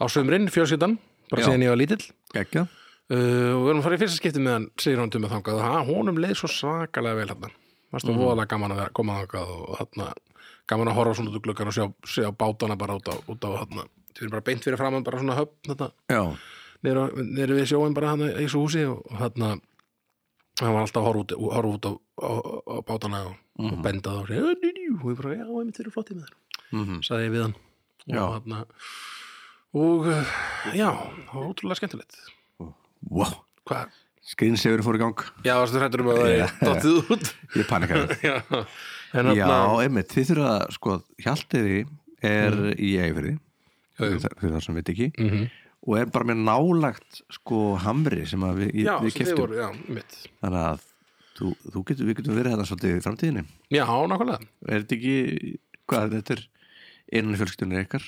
A: á sömurinn, fjölskyldan bara
B: Já.
A: síðan ég var lítill
B: Gekka.
A: uh, og við erum að fara í fyrsta skipti með hann segir hann til mig þangað og honum leið svo svakalega vel hann varst
B: Mhm.
A: það voðalega gaman að vera, koma þangað og þarna gaman að horfa svona út úr gluggan og sjá, sjá bátana bara út á, út á þarna þau eru bara beint fyrir framann bara svona höfn þarna
B: já,
A: neyru við sjóin bara hann í þessu húsi og þarna hann var alltaf að horfa út, horfa út á, á, á bátana og, og benda þá og segja, "Ö, njú, njú," og ég bara, já, einmitt verið flotti með þér
B: Mhm.
A: sagði ég við hann
B: Já.
A: og þarna og uh, já, það var ótrúlega skemmtilegt
B: wow
A: hvað?
B: skrýnsegur fór í gang
A: Já, varstu hrættur um að það er dottið út
B: ég panikaði
A: Já, en
B: já,
A: þarna
B: einmitt, þið þurfa að sko, Hjaltiði er í eigifyrði fyrir það sem við ekki
A: Mhm.
B: og er bara með nálagt sko hamri sem að við,
A: Já,
B: við
A: sem þið
B: keftum
A: voru, já, mitt
B: þannig að þú, þú getur, við getum verið þetta svolítið í framtíðinni
A: Já, nákvæmlega
B: er þetta ekki, hvað þetta er einan fjölskyldunir ykkar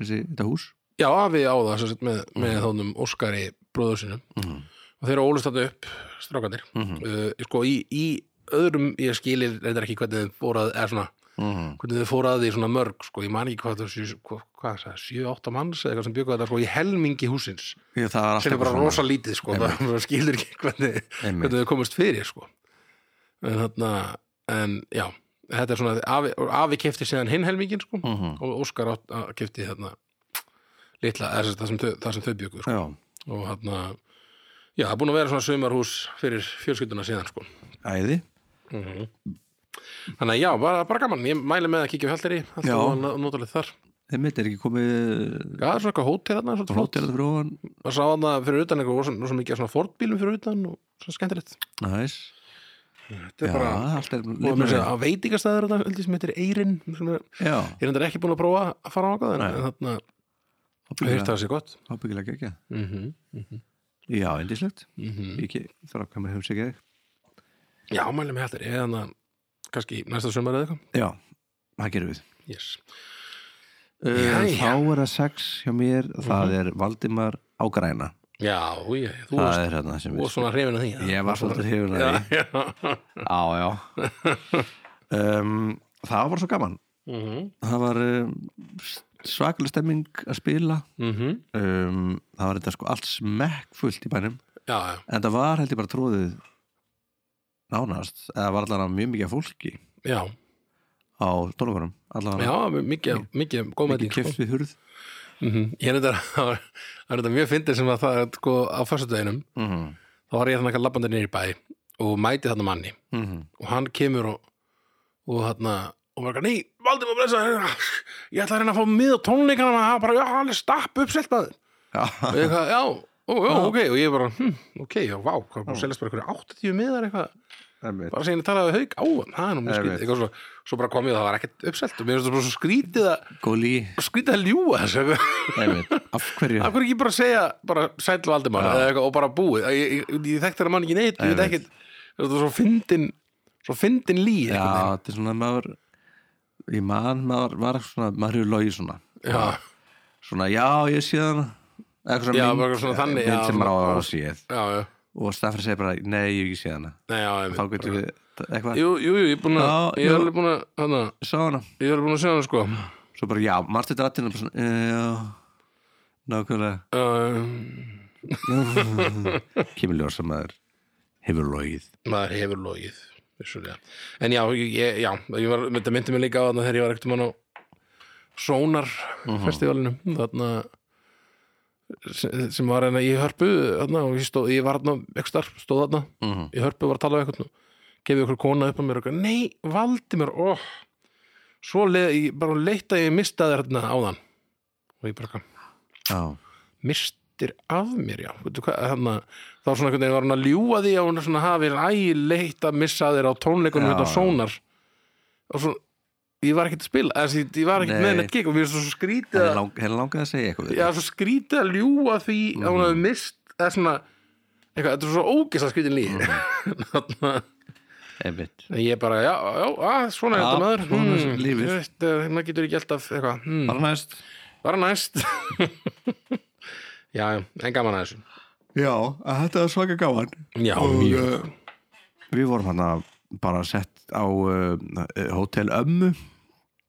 B: þessi, þetta hús
A: Já, afi á það sem sagt með, með
B: Mhm.
A: þónum Óskari bróður sinum og þeir eru ólust þarna upp, strákanir
B: Mhm.
A: uh, sko í, í öðrum ég skilir reyndar ekki hvernig þið fórað eða svona,
B: mm.
A: hvernig þið fórað því svona mörg sko, ég man ekki hvað það sjö, hvað, hvað það, sjö, átta manns eða eitthvað sem byggu þetta sko í helmingi húsins,
B: ég, það var
A: sem er
B: alltaf
A: bara rosa lítið sko, það maður skilur ekki hvernig,
B: Einmitt.
A: hvernig þið komist fyrir sko en þarna, en já þetta er svona, afi, afi kefti síðan hinn helmingin sko,
B: Mhm.
A: og Óskar átt, að, kefti þarna litla, eða sem sagt það sem þau, það sem þau byggu sko
B: já,
A: og hann að já, það er búin að vera svona sömarhús fyrir fjölskylduna síðan sko.
B: æði
A: þannig að já, bara, bara gaman, ég mæli með að kíkja á Hjaldari,
B: Já.
A: alltaf notalegt þar
B: einmitt er ekki komið
A: já, það er svona eitthvað hótel þarna, svona flott
B: flottir að fyrir ofan
A: maður sá hann að fyrir utan eitthvað rosa- rosa mikið af svona fortbílum fyrir utan og svona skemmtilegt
B: næs, já,
A: þetta er bara,
B: allt er
A: og mér segja að veitingastæður þetta, heldur sem heitir Eirin sem er,
B: já,
A: ég er endur ekki búin að prófa að fara á ákvað en
B: Nei.
A: en þarna, ég hýrt
B: ábyggilega-
A: það sé gott
B: ábyggilega ekki
A: mm -hmm.
B: já, endislegt, ég ekki þarf að koma hefum sig ekki
A: mhm. já, mæli með Hjaldari, eða þannig kannski næsta sömar eða eitthvað
B: já, það gerum við
A: yes.
B: Uh,
A: Jæja. Mhm.
B: þá er það sex hjá mér það er Valdimar Ágræna
A: já, ég, þú
B: það
A: varst
B: er hérna sem
A: Þú
B: við
A: var svona hrifin að því eða?
B: Ég var svolítið hefur að því
A: Já,
B: Já, já um, Það var svo gaman
A: já
B: Það var um, svakalega stemming að spila
A: mhm.
B: um, Það var þetta sko allt smekkfullt í bænum
A: Já, já,
B: En það var held ég bara tróðið nánast eða var allavega mjög mikið af fólki
A: já,
B: á tónleikunum allavega
A: já, mikið, mikið góð með því
B: mikið keft við hurð
A: Ég er þetta, það var- það er þetta mjög fyndið sem að það er sko á föstudeginum
B: mm -hmm.
A: þá var ég þannig að labbandi nýri bæ og mæti þarna manni
B: Mm -hmm.
A: og hann kemur og, og þarna og var ekki, nei, Valdi maður blessa ég ætla að reyna að fá mið á tónleikana og hann bara, já, hann er stapp uppselt maður og ég hvað, já, ó, já, ok og ég bara, hm, ok, já, vá, hvað er búin að seljast bara einhverju 80 miðar eitthvað bara segja henni talaði við haug á hann það er nú mjög
B: Ég
A: skrítið
B: veit.
A: eitthvað svo, svo bara kom ég og það var ekkert uppselt og mér finnst það bara svo skrítið að
B: Góli
A: skrítið að ljúga þessu af
B: Af hverju
A: hverju ekki bara segja bara sæll Valdimar eða eitthvað og bara búið ég, ég, ég, ég þekkti þetta mann ekki neitt ég veit
B: Ég
A: ekkert þetta er svo fyndin svo fyndin lí
B: Já,
A: einhvern veginn.
B: þetta er svona maður ég man, maður var svona maður hefur logið svona
A: já,
B: svona, já, ég sé það eitthvað svona
A: Já, bara eitthvað svona þannig,
B: mynd
A: já,
B: sem maður á að séð
A: já, já,
B: og Staffan segir bara, nei, ég hef ekki séð hana
A: nei,
B: þá
A: já einmitt.
B: getur við, eitthvað,
A: jú, jú, jú, ég er búin að
B: Já,
A: ég er
B: jú.
A: alveg búin að hana,
B: ég sá hana
A: ég er alveg búin að segja hann sko
B: svo bara, já, marstu þetta rættina bara svona, "Eh, já, nákvæmlega
A: um,
B: kemur ljóð sem maður hefur logið
A: maður hefur logið vissulega. en já, ég, já ég var, þetta myndi mig líka á þarna þegar ég var ekkert mann á Sónar festivalinu þarna sem- sem var hérna í Hörpu þarna, og ég, stóð, ég var þarna, ekki starf, stóð þarna
B: Mhm.
A: í Hörpu var að tala við eitthvað gefið okkur kona upp á mér og eitthvað, nei, valdi mér oh. svo leið, ég, bara leitt að ég mistaði þarna á þann og ég bara eitthvað
B: já,
A: mistir af mér já Veitu hvað, hana, þá svona einhvern veginn var hann að ljúga því að hún svona hafi ægilegt að missa þér á tónleikunum
B: Já,
A: hérna á
B: já.
A: sónar og svona, ég var ekkert að spila eða, því, ég var
B: Nei.
A: ekkert með neitt gig og mér er svo skrítið
B: henni
A: að,
B: lang, henni langaði að segja eitthvað við
A: já, svo skrítið að ljúga því að
B: Mm.
A: hún hafi mist eða svona, eitthvað, þetta er svo ógist að skrítið líf
B: Mm. þig einmitt
A: en ég bara, já, já, að, svona er
B: Já,
A: þetta maður
B: svona er lífið.
A: þú veist, eh, maður getur ekki alltaf eitthvað, hmm,
B: bara næst
A: bara næst já, já, en gaman að þessu
B: já, þetta er svaka gaman
A: já,
B: Og, eh,
A: mjög
B: við vorum hann að bara sett á uh, hótel Ömmu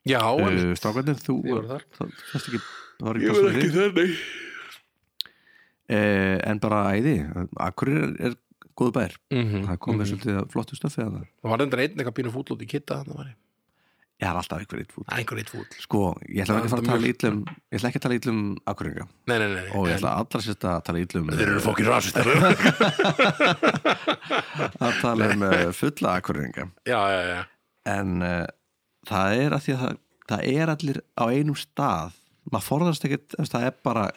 A: Já,
B: uh, strákarnir, þú
A: Ég var þar.
B: það fannst ekki, það var ekki pláss fyrir þig.
A: þenni
B: Eh, en bara æði, Akureyri er, er góð bær, það komið mm svolítið flottu stöfið að það,
A: Mhm. Það var reyndar einn eitthvað pínu fúll út í kitta Það var
B: ég er alltaf einhver eitt fúll
A: einhver eitt fúll
B: sko, ég ætla ekki að fara að
A: Það er
B: tala ítlum ég ætla ekki að tala ítlum Akureyringa
A: Nei, nei, nei
B: og ég ætla allra sérst að tala um- ítlum
A: fokkin rasist Já,
B: að tala um eh, fulla Akureyringa
A: já, já
B: en uh, það er að því að það, það er allir á einum stað maður forðast ekkert, ef það er bara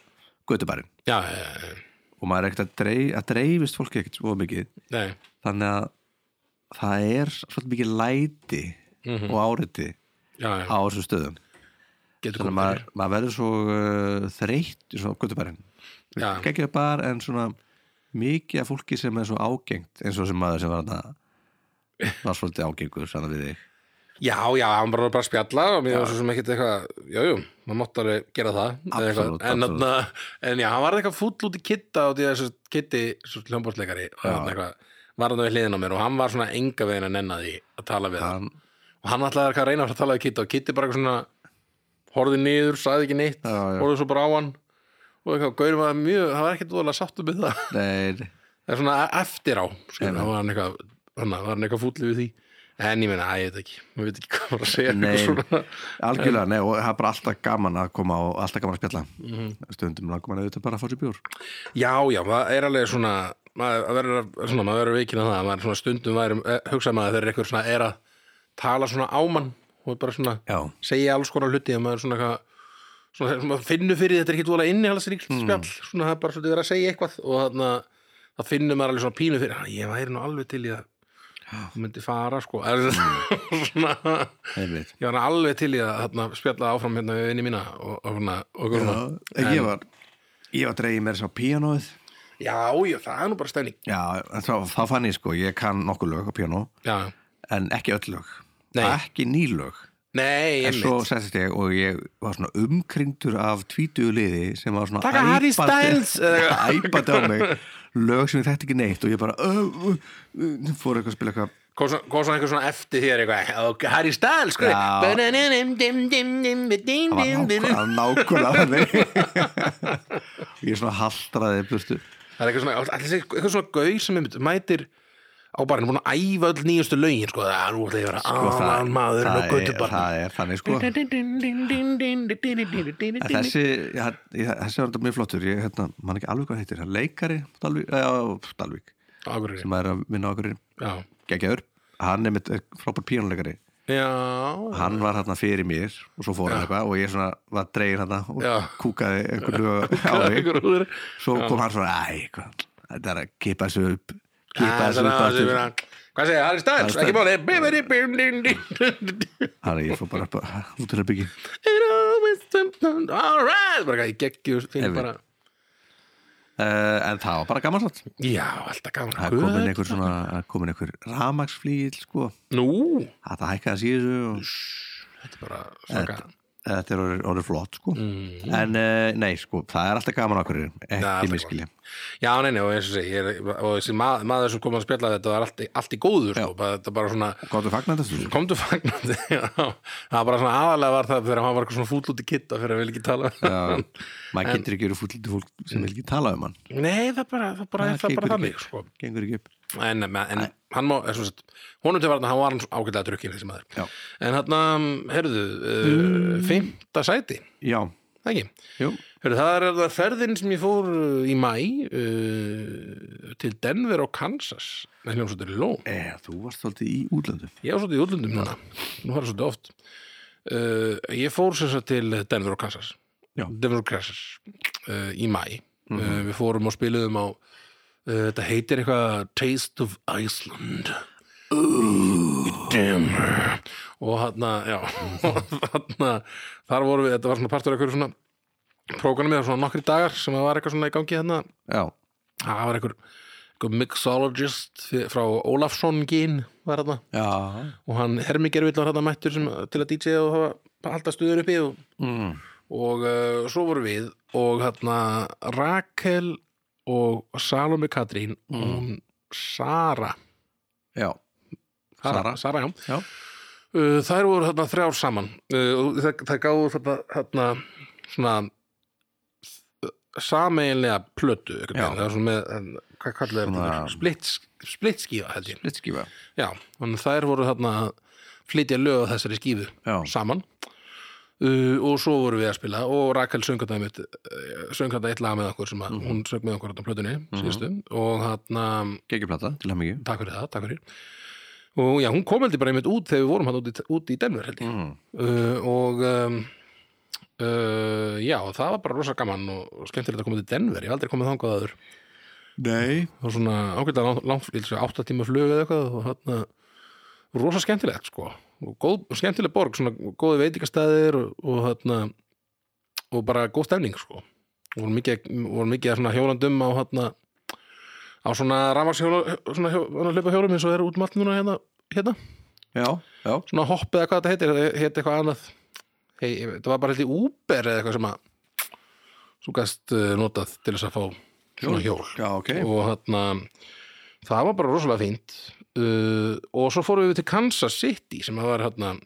B: göttubærin
A: Já, já, já
B: og maður er ekkert að, dreif, að dreifist fólki ekkert svo mikið
A: Nei,
B: þannig að það er svolítið mikið læti
A: Mhm.
B: og áriti
A: já, já
B: á þessum stöðum þannig
A: Getur
B: að
A: komið
B: maður, maður verður svo uh, þreytt í svona göttubærin
A: fyrir Já,
B: geggjaði bar en svona mikið af fólki sem er svo ágengt eins og sem maður sem var þarna var svolítið ágengur sann við þig
A: já, já, hann bara bara að spjalla og mér var svo sem ekkert eitthvað, jú, jú, maður mátt alveg gera það eða eitthvað.
B: Absolutt,
A: en,
B: absolutt.
A: þarna- en já, hann var eitthvað fúll út í kitta og því að þessu kitti, svo hljómbórsleikari og þarna eitthvað, var hann við hliðin á mér og hann var svona enga veginn að nenna því að tala við hann
B: hann,
A: og hann ætlaði eitthvað að reyna að tala við Kitty og Kitty bara eitthvað svona horfði niður, sagði ekki neitt
B: Já, já.
A: horfði svo bara á hann og eitthvað, Gauri var mjög, hann var ekkert úðalega sáttu með það
B: nei,
A: það er svona e- eftir á skilur, hann var hann eitthvað, hann var hann eitthvað fúlli við því en ég meina, að ég veit ekki maður veit ekki hvað var að segja
B: Nei.
A: eitthvað svona.
B: algjörlega, nei og það er bara alltaf gaman að koma og alltaf gaman að spjalla stundum langum að auðvitað bara að fá sér bjór
A: já, já, það er alveg svona maður að verður að- svona, maður verður vikinn að það maður svona stundum væri, eh, hugsa maður þegar eitthvað svona er að tala svona ámann og bara svona
B: já,
A: segja alls konar hluti að maður svona eitthvað svona, svona finnur fyrir því, þetta er ekki dvolega innihalsríkt spjall, svona það er bara svolítið verið að segja eitthvað og þannig að það finnur maður alveg svona pínu fyrir, "Ah, ég væri nú alveg til í að þú myndi fara sko er, svona,
B: einmitt
A: ég var alveg til í að þarna, spjalla áfram hérna við vinni mína og, og, svona, og
B: já,
A: svona.
B: en ég var ég var dreigið mér svo píanóið
A: já, já, það er nú bara stæning
B: já, en þá, þá fann ég sko, ég kann nokkur lög á píanó
A: já,
B: en ekki öll lög
A: Nei.
B: ekki nýlög en
A: nei, einmitt
B: svo settist ég og ég var svona umkringdur af tvítugu liði sem var svona
A: Taka Harry
B: æpandi-
A: Styles, eða-
B: æpandi á mig lög sem ég þekkt ekki neitt og ég bara uh, uh, uh, fór eitthvað að spila eitthvað
A: kom svo- kom svona einhver svona eftir þér eitthvað og Harry Styles sko
B: Já.
A: það
B: það var nákvæmlega þannig og ég svona haldraði burtu
A: Það er eitthvað svona, allir sé eitthvað svona gauð sem einmitt mætir á barinn, búin að æfa öll nýjustu lögin, sko, það er nú ætla ég að vera
B: Og
A: aðan maður og
B: það,
A: göttu
B: er,
A: barinn.
B: það er þannig sko En þessi, ég, ég, þessi var þetta mjög flottur ég hérna, man ekki alveg hvað hann heitir hann leikari Dalvík, já, Dalvík
A: Akureyri,
B: sem er að vinna okkur
A: já.
B: geggjaður hann er mitt frábær píónleikari
A: Já,
B: hann var hérna fyrir mér og svo fór hann eitthvað og ég svona var dregin hérna og
A: Já.
B: kúkaði einhverju á mig
A: einhver úr.
B: svo kom hann svona, æ, hvað þetta er að kipa þessu upp
A: Það
B: kipa
A: er
B: þessu
A: svona,
B: upp
A: það er
B: aftur."
A: svona, hvað segja, Harry Styles,
B: Harry
A: ekki máli, bimini, bimini, bimini,
B: Þannig að ég fór bara upp að- út til að byggja
A: it always something, all right, bara eitthvað, ég geggjur, finn
B: Einmitt.
A: bara,
B: uh, En það var bara gaman satt
A: já, alltaf gaman,
B: Það er komin einhver svona, það er komin einhver ramagsflýl sko
A: nú,
B: Það það hækkaði síðu og
A: þetta er bara svaka,
B: Eh, þetta er orðið, orðið flott sko En uh, nei sko, það er alltaf gaman okkur
A: Mm. alltaf
B: Ekki
A: gaman.
B: miskilja
A: Já, nei, nei, og eins og segi, ég er, og þessi maður, maður sem kom að spjalla þetta var allt, í- allt í góður, sko, bara, þetta bara svona,
B: Góðu fagnar þessu sko.
A: komdu fagnandi, já, það var bara svona aðalega var það þegar hann var eitthvað svona fúll út í kitta fyrir að vil ekki tala.
B: Já, maður getur ekki verið fúllítið fólk sem vil ekki tala um hann
A: Nei, það bara, Mm. það bara, það
B: gengur
A: bara
B: ekki.
A: þannig, sko.
B: Gengur ekki upp
A: En, en, en hann má, eins og sett, honum til varna, hann var ágætlega drukkin þessi maður.
B: Já. Mm.
A: En hérna, heyrðu, uh, fymta sæti,
B: Já,
A: það ekki?
B: jú,
A: Hörru, það er það ferðin sem ég fór uh, í mæ uh, til Denver og Kansas með hljómsveitur Lón.
B: e, þú varst svolítið í útlöndu
A: Ég var svolítið í Eh, útlöndum núna, nú var það svolítið oft. Uh, ég fór sem sagt til Denver og Kansas
B: Já. Mhm.
A: Devil Crashes uh, í mæ uh, við fórum og spiluðum á uh, þetta heitir eitthvað Taste of Iceland Ooh, Denver og hann já, hann þar vorum við, þetta var svona partur af einhverju svona prógrammi, það var svona nokkri dagar sem það var eitthvað svona í gangi hérna
B: já,
A: það var einhver, einhver mixologist fyr- frá Ólafsson Gín var þarna
B: já
A: og hann Hermigervill var þarna mættur sem, til að DJ og hafa halda stuður uppi og,
B: mm.
A: og uh, svo voru við og hérna Rakel og Salome Katrín og hún Sara
B: já,
A: Sara,
B: Sara.
A: Sara já.
B: já,
A: Uh, þær voru þarna þrjár saman uh, og það, það gáðu þarna, þarna svona sameinlega plötu einhvern
B: Já.
A: veginn. það var svona með, en, hvað kallar þetta
B: Svona-
A: Splitt- splittskífa held ég
B: splittskífa
A: já, þannig að þær voru þarna að flytja lög á þessari skífu
B: Já.
A: saman uh, og svo voru við að spila og Rakel söngarna mitt söngarna eitt lag með okkur sem að
B: Mhm.
A: hún söng með okkur á plötunni síðustu og þarna,
B: geggjuplata til hann mikið
A: takk fyrir það, takk fyrir og já, hún kom heldur bara einmitt út þegar við vorum hann út í, út í Denver held ég
B: mm.
A: uh, og um, uh, já, það var bara rosa gaman og, og skemmtilegt að koma til Denver, ég hef aldrei komið þangað aður
B: nei,
A: það var svona ágætlega langt, langt ég held að segja átta tíma flug eða eitthvað og þarna rosa skemmtilegt sko og góð, og skemmtileg borg, svona góði veitingastæðir og, og þarna og bara góð stefning sko og voru mikið, voru mikið af svona hjólandum á þarna á svona rafmarshjóla svona hjó, hlaupa hjólum eins og þeir eru út um allt núna hérna, hérna
B: já, já
A: svona hopp eða hvað þetta heitir þetta heitir eitthvað annað hey, þetta var bara held í Uber eða eitthvað sem að svo gæst notað til þess að fá svona hjól
B: já, ok,
A: og þarna það var bara rosalega fínt uh, og svo fórum við til Kansas City sem það var hérna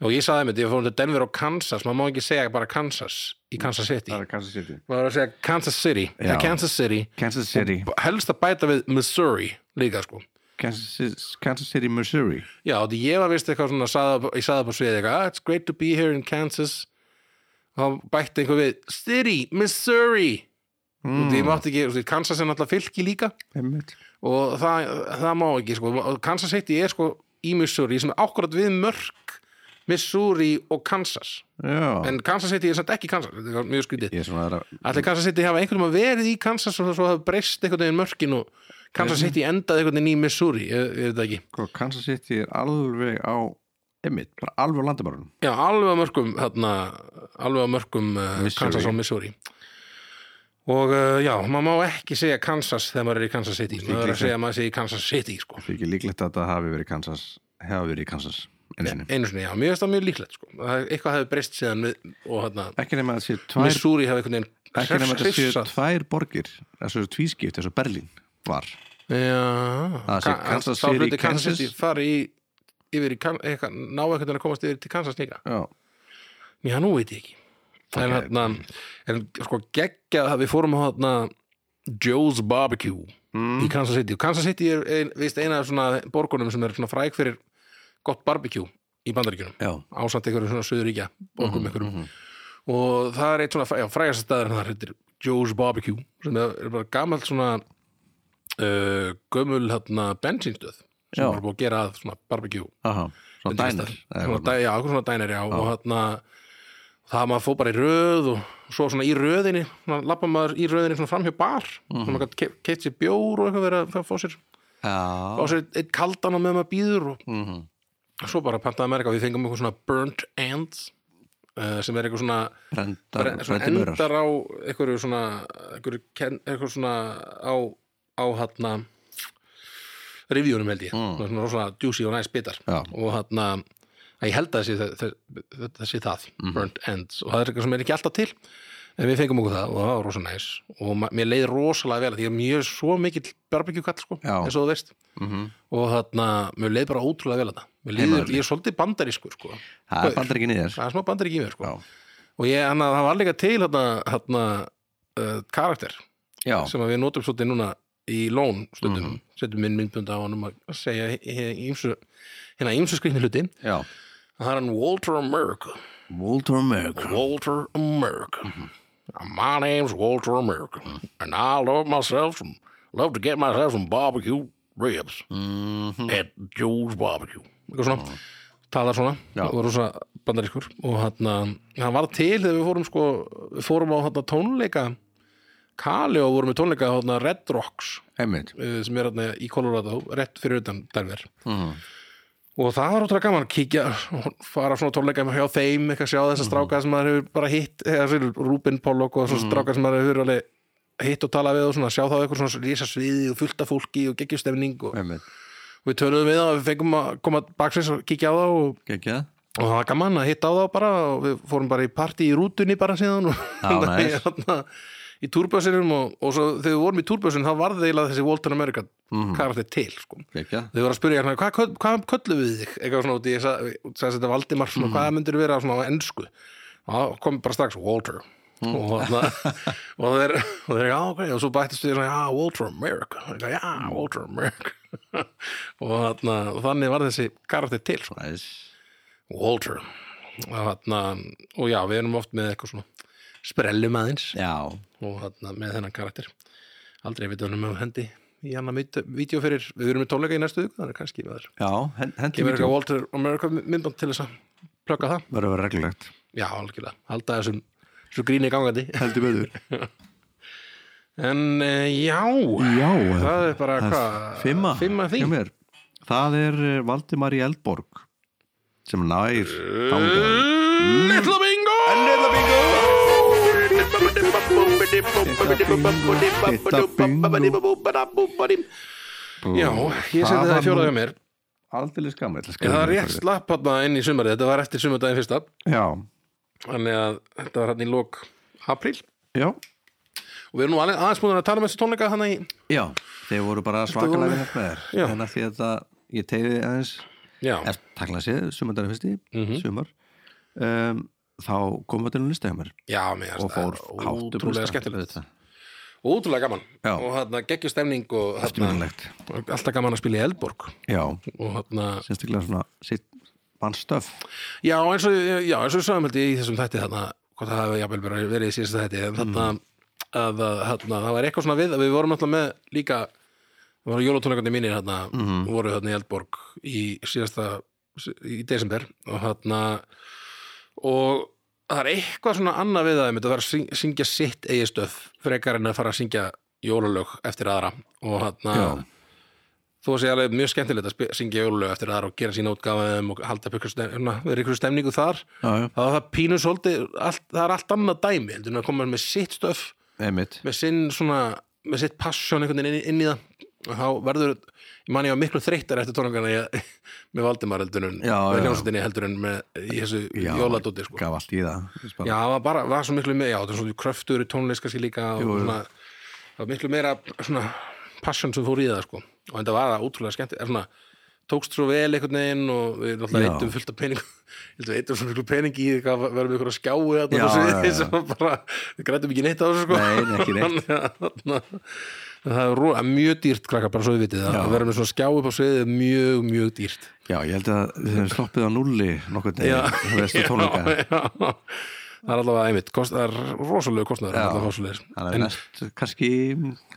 A: og ég saði einmitt, ég fórum til Denver og Kansas maður má ekki segja bara Kansas í Kansas City
B: það er Kansas City
A: maður er að segja Kansas City eða
B: Já.
A: Kansas City
B: Kansas City,
A: helst að bæta við Missouri líka sko
B: Kansas, Kansas City, Missouri
A: Já, því ég var vist eitthvað svona sagði, ég sagði upp á sviðið eitthvað, "Ah, it's great to be here in Kansas og þá bætti einhver við City, Missouri mm. og því ég mátti ekki, þú veist, Kansas er náttúrulega fylki líka
B: Einmitt.
A: og það, það má ekki, sko og Kansas City er sko í Missouri sem er akkurat við mörk Missouri og Kansas
B: já,
A: en Kansas City er samt ekki Kansas, þetta er mjög skrítið
B: Ah. ég er svona aðra
A: Ætli Kansas City hafa einhvern veginn verið í Kansas og svo hafa breyst einhvern veginn mörkin og Kansas City endaði einhvern veginn í Missouri, ég, ég veit það ekki
B: sko, Kansas City er alveg á einmitt, bara alveg á landamörunum
A: Já, alveg að mörgum þarna, alveg að mörgum uh,
B: Missouri.
A: Kansas og Missouri og uh, já, maður má ekki segja Kansas þegar maður er í Kansas City maður er að
B: líklega.
A: segja að maður sé í Kansas City sko.
B: því ekki líklegt að það hafi verið í Kansas hafi verið í Kansas einu sinni
A: einu sinni, já, mér finnst það mjög líklegt sko. Það er- eitthvað hefur breyst síðan við, og hérna,
B: ekki nema að það sé tvær
A: Missouri hefur einhvern
B: ekki
A: veginn
B: nema að það séu
A: hrifsað.
B: tvær borgir þessu tvískipt, þessu Berlín var
A: Já,
B: Það sé
A: Ka-
B: Kansas
A: þá
B: City,
A: hluti Kansas
B: Kansas.
A: City fari í yfir í, Kan- eitthvað, ná einhvern veginn að komast yfir til Kansas líka
B: já,
A: Já, nú veit ég ekki En,
B: Ok.
A: hérna, en sko geggjað að við fórum á hérna Joe's Barbecue í
B: Mm.
A: Kansas City og Kansas City er ein, vist eina af svona borgunum sem er svona fræk fyrir gott barbecue í bandaríkjunum
B: já,
A: ásamt einhverjum svona söðuríkja
B: Mhm,
A: borgum einhverjum og það er eitt svona fræ- já, frægasta staður það heitir Joe's Barbecue sem er, er bara gamalt svona uh, gömul hérna bensinstöð sem
B: Já.
A: er búið að gera að svona barbecue
B: aha, svona dænar
A: Svona dæ- Já, okkur svona dæner, já og þarna það maður fór bara í röð og svo svona í röðinni svona lappa maður í röðinni svona framhjá bar mm. svona maður gætt keitt sér bjór og eitthvað verið að- að fá sér, fá
B: já,
A: sér eitt kaldan á meðan maður býður og
B: mhm,
A: svo bara pantaði merka við fengum eitthvað svona burnt ends uh, sem er eitthvað svona,
B: brendar,
A: bre, svona
B: brendi mörur
A: endar á eitthvað svona eitthvað, eitthvað svona á, á hérna revíunum held ég, mm. svona rosalega juicy og næs bitar
B: Já.
A: og hérna að ég held að það sé það, það, það, það, sé það burnt ends og það er eitthvað sem er ekki alltaf til en við fengum okkur það og það var rosa næs og ma- mér leið rosalega vel af því að ég er svo mikill barbecue kall sko,
B: Já.
A: eins og þú veist
B: Mhm.
A: og þarna, mér leið bara ótrúlega vel að það leið,
B: Heimaðurinn.
A: ég er svolítið bandarískur sko.
B: það er bandar ekki niður
A: það er smá bandarík í mér sko.
B: já,
A: og ég, hann, það var líka til hérna, hérna, uh, karakter
B: já,
A: sem að við notum svolítið núna í lón stundum, setjum minn myndbund á hann um að segja ýmsu hérna ýmsu skrýnni hluti
B: já
A: það er hann Walter America
B: Walter Merkur
A: Walter America my name's Walter America and I love myself some, love to get myself some barbecue ribs
B: mhm,
A: at Joe's Barbecue eitthvað svona, talar svona
B: Já.
A: og rosa bandarískur og hann, hann var til þegar við fórum sko, við fórum á hann tónleika Kali og vorum við tónleika hann Red Rocks
B: Einmitt.
A: eh, sem er hann í Colorado, rétt fyrir utan Denver
B: Mhm.
A: og það var ótrúlega gaman að kíkja og fara á svona tónleika hjá þeim eitthvað sjá
B: Mhm.
A: þessa stráka sem maður hefur bara hitt eða svona Rúbin Pollock og svona stráka sem maður hefur alveg hitt og tala við og svona sjá þá eitthvað svona rísa sviði og fullta fólki og geggjustemning og
B: Einmitt.
A: við töluðum við það og við fengum að koma baksins og kíkja á það og
B: Gekkjað.
A: og það var gaman að hitta á þá bara og við fórum bara í partí í rútunni bara síðan og
B: Já,
A: í,
B: nice.
A: þarna, í túrbössinum og, og svo þegar við vorum í túrbössin þá varði eiginlega þessi Walton America
B: Mhm.
A: mm. karakter til sko.
B: Gekkjað.
A: þau voru að spyrja hérna hvað köll- hvað köllum við þig eitthvað svona út í þess að þetta Valdimar svona, hvað myndir vera svona á ennsku og það kom bara strax Walter og, þarna, og þeir og þeir, já, ok, og svo bættist við svona, já, Walter America og þeir, já, Walter America og, þarna, og þannig var þessi karakter til svona
B: Næs.
A: Walter og, þarna, og já, við erum oft með eitthvað svona sprellum aðeins
B: Já.
A: og þarna, með þennan karakter aldrei við dönum um hendi í hann að vídeo fyrir, við erum með tónleika í næstu viku þannig að kannski við erum
B: Já, hen- hendi
A: kemur
B: vídeo.
A: eitthvað Walter America myndband til þess að plöka það,
B: Verður að vera reglulegt.
A: já, algjörlega halda þessum svo gríni gangandi
B: Heldur betur.
A: en uh, já,
B: Já.
A: það er bara
B: það er
A: hvað
B: Fimma.
A: fimma því
B: hjá mér. Það er eh, Valdimar í Eldborg sem nær
A: Eh,
B: þangað.
A: Little Bingo Little Bingo Já, ég seti það í fjóraðið mér
B: Aldrei skammel.
A: En það er rétt slapp hann inn í sumarið Þetta var eftir sumardaginn fyrsta
B: Já.
A: Þannig að þetta var hann í lok apríl Og
B: Já.
A: við erum nú alveg- aðeins búin að tala um þessu tónleika Þannig í,
B: Já. Þeir voru bara svakalega við þetta með
A: Já.
B: þér. En að því að það, ég tegði aðeins,
A: já,
B: er takla séð, sumandari fyrsti,
A: Mhm.
B: sumar, um, þá komum við til að lista hjá mér
A: já, mér
B: og
A: finnst
B: fór
A: það
B: hátt upp
A: Ótrúlega
B: lista.
A: skemmtilegt
B: Auðvitað.
A: Ótrúlega gaman
B: Já.
A: Og hann geggjur stemning og þarna-
B: Eftirminnilegt.
A: Alltaf gaman að spila í Eldborg
B: Já,
A: Og hérna, hann
B: sérstaklega svona sitt mannstöf
A: Já, eins og, já, eins og við sagðum held ég í þessum þætti þarna, hvort það hefði jafnvel bara verið í síðasta þætti, en þarna, að, að, þarna, það var eitthvað svona við, að við vorum alltaf með líka, það var jólatónleikandi mínir þarna, voru þarna í Eldborg í síðasta, í desember og þarna, og það er eitthvað svona annað við það, einmitt, að það er að syng- syngja sitt eigi stöf, frekar en að fara að syngja jólalög eftir aðra og þarna,
B: Já.
A: þó að sé alveg mjög skemmtilegt að spe- syngja jólulög eftir þar og gera sína útgáfum og halda upp ykkur stem- svona, vera ykkur stemningu þar
B: Já, já,
A: það var það pínu svolítið, allt, það er allt annað dæmi heldur en að koma með sitt stöf
B: einmitt
A: með sinn svona, með sitt passion einhvern veginn inn, inn í það og þá verður, ég man ég var miklu þreyttar eftir tónungana ég, með Valdimar heldur en
B: Já,
A: með
B: já.
A: hljónsutinni heldur en með í þessu
B: Já,
A: jóladóti sko.
B: Gaf allt í það
A: Já, það var bara, var svo miklu meira, já, það er svona kröftur í tónleik kannski líka og
B: Jú, jú.
A: svona, það var miklu meira svona passion sem fór í það, sko. Og þetta var það ótrúlega skemmt, er svona, tókst svo vel einhvern veginn og við náttúrulega
B: Já.
A: eittum fullt af pening, eittum eittum svo miklu pening í eitthvað, verðum ykkur að skjáu þarna
B: Já,
A: og
B: já,
A: sviði
B: já.
A: sem var bara, við grætum ekki neitt á þessu, sko.
B: Nei, nei, ekki neitt.
A: Þannig að- það er rú, mjög dýrt, krakkar, bara svo við vitið það,
B: Já.
A: að vera með svona skjá upp á sviðið er mjög, mjög dýrt.
B: Já, ég held að þið hefum sloppið á nulli nokkur degin, það veist þú tónleika
A: já, já. það er allavega einmitt kost, það er rosalegu kostnaður það er allavega rosalegir.
B: Þannig að næst, kannski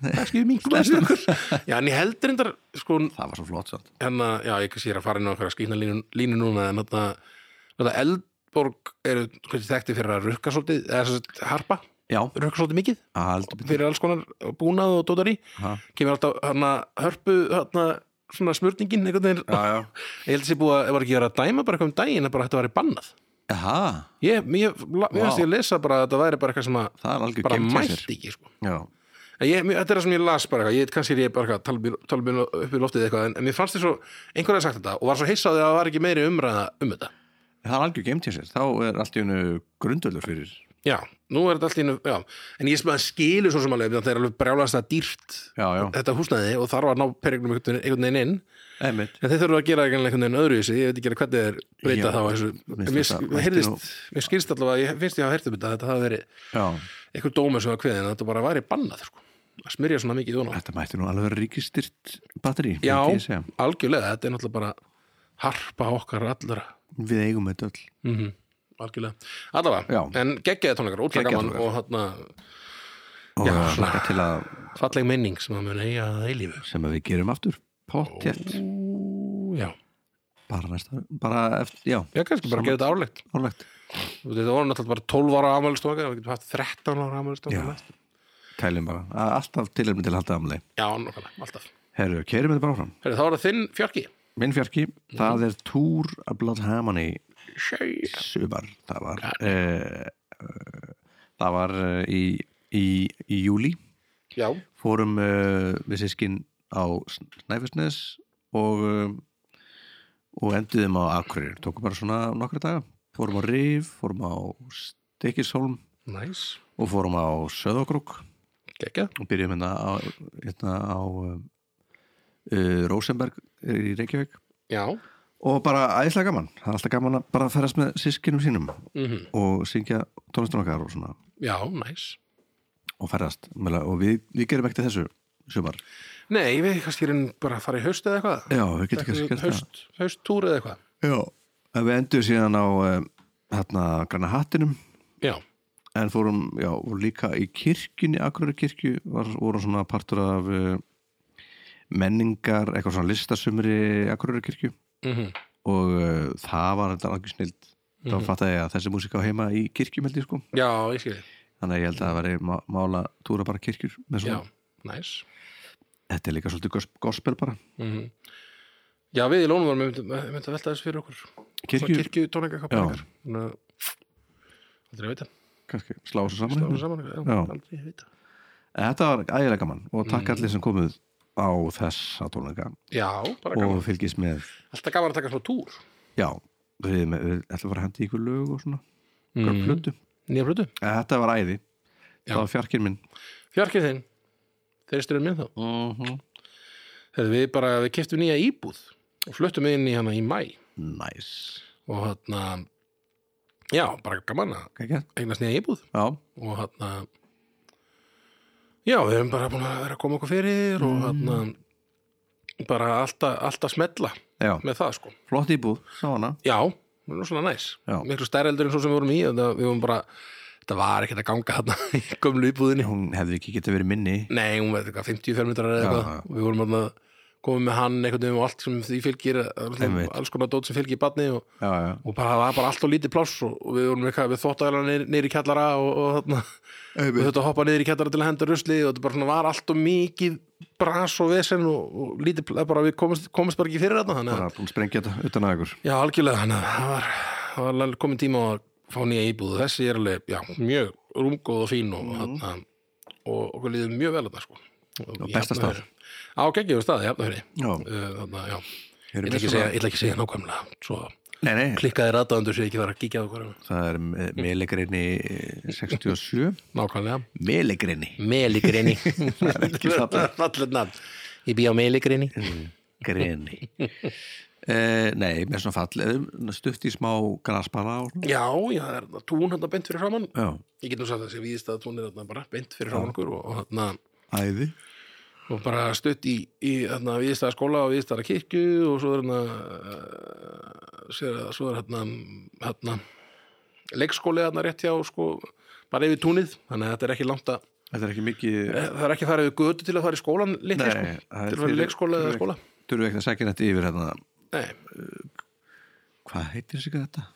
B: Það
A: kannski mingur næstu okkur já, en ég heldur reyndar sko,
B: var svo flott samt
A: hérna, já, ég kannski er að fara inn á okkur að skýna línu, línu núna en þetta, þetta Eldborg eru kannski þekkti fyrir að rukka svolítið eða sem sagt harpa,
B: Já,
A: rukka svolítið mikið
B: að heldur betur
A: fyrir alls konar búnað og dótar í
B: Ha.
A: kemur alltaf hérna hörpu hérna svona smurningin einhvern veginn
B: Já, já
A: ég held sér búið að, var ekki verið að dæma bara eitthvað um daginn að bara þetta var í bannað
B: Aha,
A: Ég, mér wow. finnst ég að lesa bara að þetta væri bara eitthvað sem að
B: það er algjör
A: bara
B: game chaser
A: mætti ekki sko.
B: Já,
A: En ég, mér, þetta er það sem ég las bara eitthvað, ég kannski er ég bara eitthvað, tala mér- tala mér upp í loftið eitthvað en, en mér fannst þér svo, einhver hafði sagt þetta og var svo heissaði að það var ekki meiri umræða um þetta
B: það er algjör game chaser Þá er allt í hennu grundöldur fyrir
A: Já, nú er þetta allt í einu, já en ég sem að skilu svo sem alveg, það er alveg brjálast að dýrt
B: Já, já,
A: þetta húsnæði og þarf að ná peregnum einhvern einhvern veginn inn
B: einmitt
A: en þeir þurfa að gera einhvern veginn öðru í sig ég veit ekki hvernig þeir
B: Já,
A: breyta þá þessu
B: mér
A: mér,
B: finnst þetta-
A: mér, heyrðist, mér skilst allavega, ég finnst ég hafa heyrt um þetta að þetta hafa verið
B: Já,
A: einhver dómur sem var kveðin að þetta bara væri bannað sko. að smyrja svona mikið ofan á
B: þetta mætti nú alveg ríkistyrt batteri
A: já,
B: myndi ég segja.
A: algjörlega, þetta er náttúrulega bara harpa okkar allra
B: Við eigum þetta öll
A: mm -hmm. algjörlega, allavega,
B: Mhm. Já.
A: en geggjaði tónleikar, ótrúlega
B: Geggjaðir
A: gaman
B: tónleikar.
A: og þarna
B: og
A: Já,
B: ég
A: svona.
B: hlakka til að
A: falleg minning sem að mun eiga að eilífu
B: sem að við gerum aftur pottjætt
A: Ú, já,
B: bara næsta ári. bara eftir, já,
A: Já, kannski bara gera þetta árlegt
B: álegt
A: Og Þetta voru náttúrulega bara 12 ára afmælistóka Við getum haft 13 ára
B: Já.
A: afmælistóka
B: kælum bara, A- alltaf tilefni til að halda amli
A: Já, nákvæmlega, alltaf
B: herru, keirum þetta bara áfram
A: Heyrðu, Þá er það þinn fjörki
B: minn fjarki, það er Tour of Blood Harmony
A: Sjæja.
B: sumar, það var uh, það var uh, í, í, í júli
A: Já,
B: fórum uh, við sískin á Snæfisnes og uh, og enduðum á Akureyri tókum bara svona nokkra daga fórum á Rif, fórum á Stekishólm
A: næs nice.
B: og fórum á Söðokrúk
A: Gekja,
B: og byrjum hérna á, hérna á uh, uh, Rosenberg í Reykjavík
A: já
B: og bara æðislega gaman það er alltaf gaman að bara ferast með sískinum sínum
A: mm
B: og syngja tónlistunum okkar og svona
A: Já, næs
B: og ferast Mögulega- og við, við gerum ekkert þessu sumar
A: Nei, við kannski erum bara að fara í haust eða eitthvað
B: já, við getum kannski gert það
A: Haust, hausttúr eða eitthvað
B: Já, en við endur síðan á um, hérna græna hattinum
A: Já,
B: en fórum, já, og líka í kirkjunni, Akureyri kirkju, var, voru svona partur af uh, menningar, eitthvað svona listasumri Akureyri kirkju
A: mm
B: og uh, það var þetta algjör snild þá fattaði ég að þessi músík á heima í kirkjum held ég sko,
A: já, ég skil þig
B: þannig að ég held að það veri má, mála túra bara kirkjur með
A: Já,
B: svona,
A: næs
B: þetta er líka svolítið gos- gospel bara,
A: Mhm. Já, við í Lónum varum einmitt einmitt að velta þessu fyrir okkur
B: kirkju,
A: Kirkju tónleika hvað
B: Já.
A: bæringar Aldrei að vita
B: kannski, slá þessu saman
A: Sláðu saman, já,
B: Já.
A: aldrei að vita
B: En þetta var ægilega gaman og takk allir sem komuð á þessa tónleika
A: Já, bara gaman
B: og fylgist með
A: Alltaf gaman að taka svona túr
B: já, við, með, við ætlum að fara að henda í ykkur lög og svona, ykkur mm. plötu
A: Nýja plötu
B: en þetta var æði,
A: Mhm. Já.
B: það var fjarkinn minn
A: Fjarkið þinn, þeir styrðum minn þá
B: uh -huh.
A: Þegar við bara, við keftum nýja íbúð og fluttum inn í hana í mæ
B: næs
A: og hann Já, bara gaman að
B: Kækja.
A: eignast nýja íbúð
B: já,
A: og hann Já, við erum bara búin að vera að koma okkur fyrir
B: Mm.
A: og hann bara alltaf, alltaf smetla
B: já,
A: með það sko
B: flott íbúð sá hana,
A: Já, það er svona næs
B: Já.
A: Miklu stæreldur en svo sem við vorum í þetta, við vorum bara, þetta var ekkert að ganga þarna í gömlu íbúðinni
B: hún hefði ekki getið verið minni
A: Nei, hún veit eitthvað 50 fermetrar eða
B: Já,
A: eitthvað
B: já.
A: og við vorum að koma með hann einhvern veginn og allt sem því fylgir
B: Einmitt.
A: alls konar dót sem fylgir barni og,
B: já, já,
A: og bara, það var bara allt og lítið pláss og, og við vorum eitthvað, við þóttaðalega niður, niður í kjallara og, og þarna við þurftum að hoppa niður í kjallara til að henda rusli og þetta bara svona var allt og mikið bras og vesen og, og lítið, pl- bara við komumst, komumst bara ekki fyrir þarna þannig að,
B: bara búin að sprengja þetta utan að ykkur
A: já, algjörlega þannig að það var, það var alveg komin tíma á að fá nýja íbúð og þessi er alveg, já, mjög rúmgóð og fín og, mm. og okkur líður mjög vel þarna sko
B: Og besta stað.
A: á geggjum staði, jafnafyrir
B: já,
A: þannig að já, ég
B: erum við
A: ætla ekki að
B: svona-
A: segja, ég ætla ekki að segja nákvæmlega svo
B: nei, nei,
A: klikkaði rataðundur sem ekki var að kíkja á okkur
B: það er eh, melegrinni eh, 67
A: nákvæmlega,
B: melegrinni
A: meligrini
B: ekki fallegt.
A: fallet nafn ég býja á meligrini
B: greni uh, nei, með svona fall stutt í smá grasbala og svona.
A: já, já, það er þarna tún hann beint fyrir framann
B: já,
A: ég get nú sagt að þessi víðist að tún er þarna bara beint fyrir framann okkur og, og, þarna,
B: æði
A: og bara stutt í, í þarna, víðistæða skóla og víðistæða kirkju og svo er þarna eh, sér að svo er þarna, þarna leikskóli þarna rétt hjá sko, bara yfir túnið þannig að þetta er ekki langt að
B: þetta er ekki mikið
A: Eh, það er ekki að fara við götu til að fara í skólan litli,
B: Nei,
A: sko,
B: það er
A: til að fara í
B: fyrir-
A: leikskóla eða
B: fyrir-
A: skóla
B: þurfum við ekkert að segja þetta yfir hérna
A: nei,
B: hvað heitir þessi gata?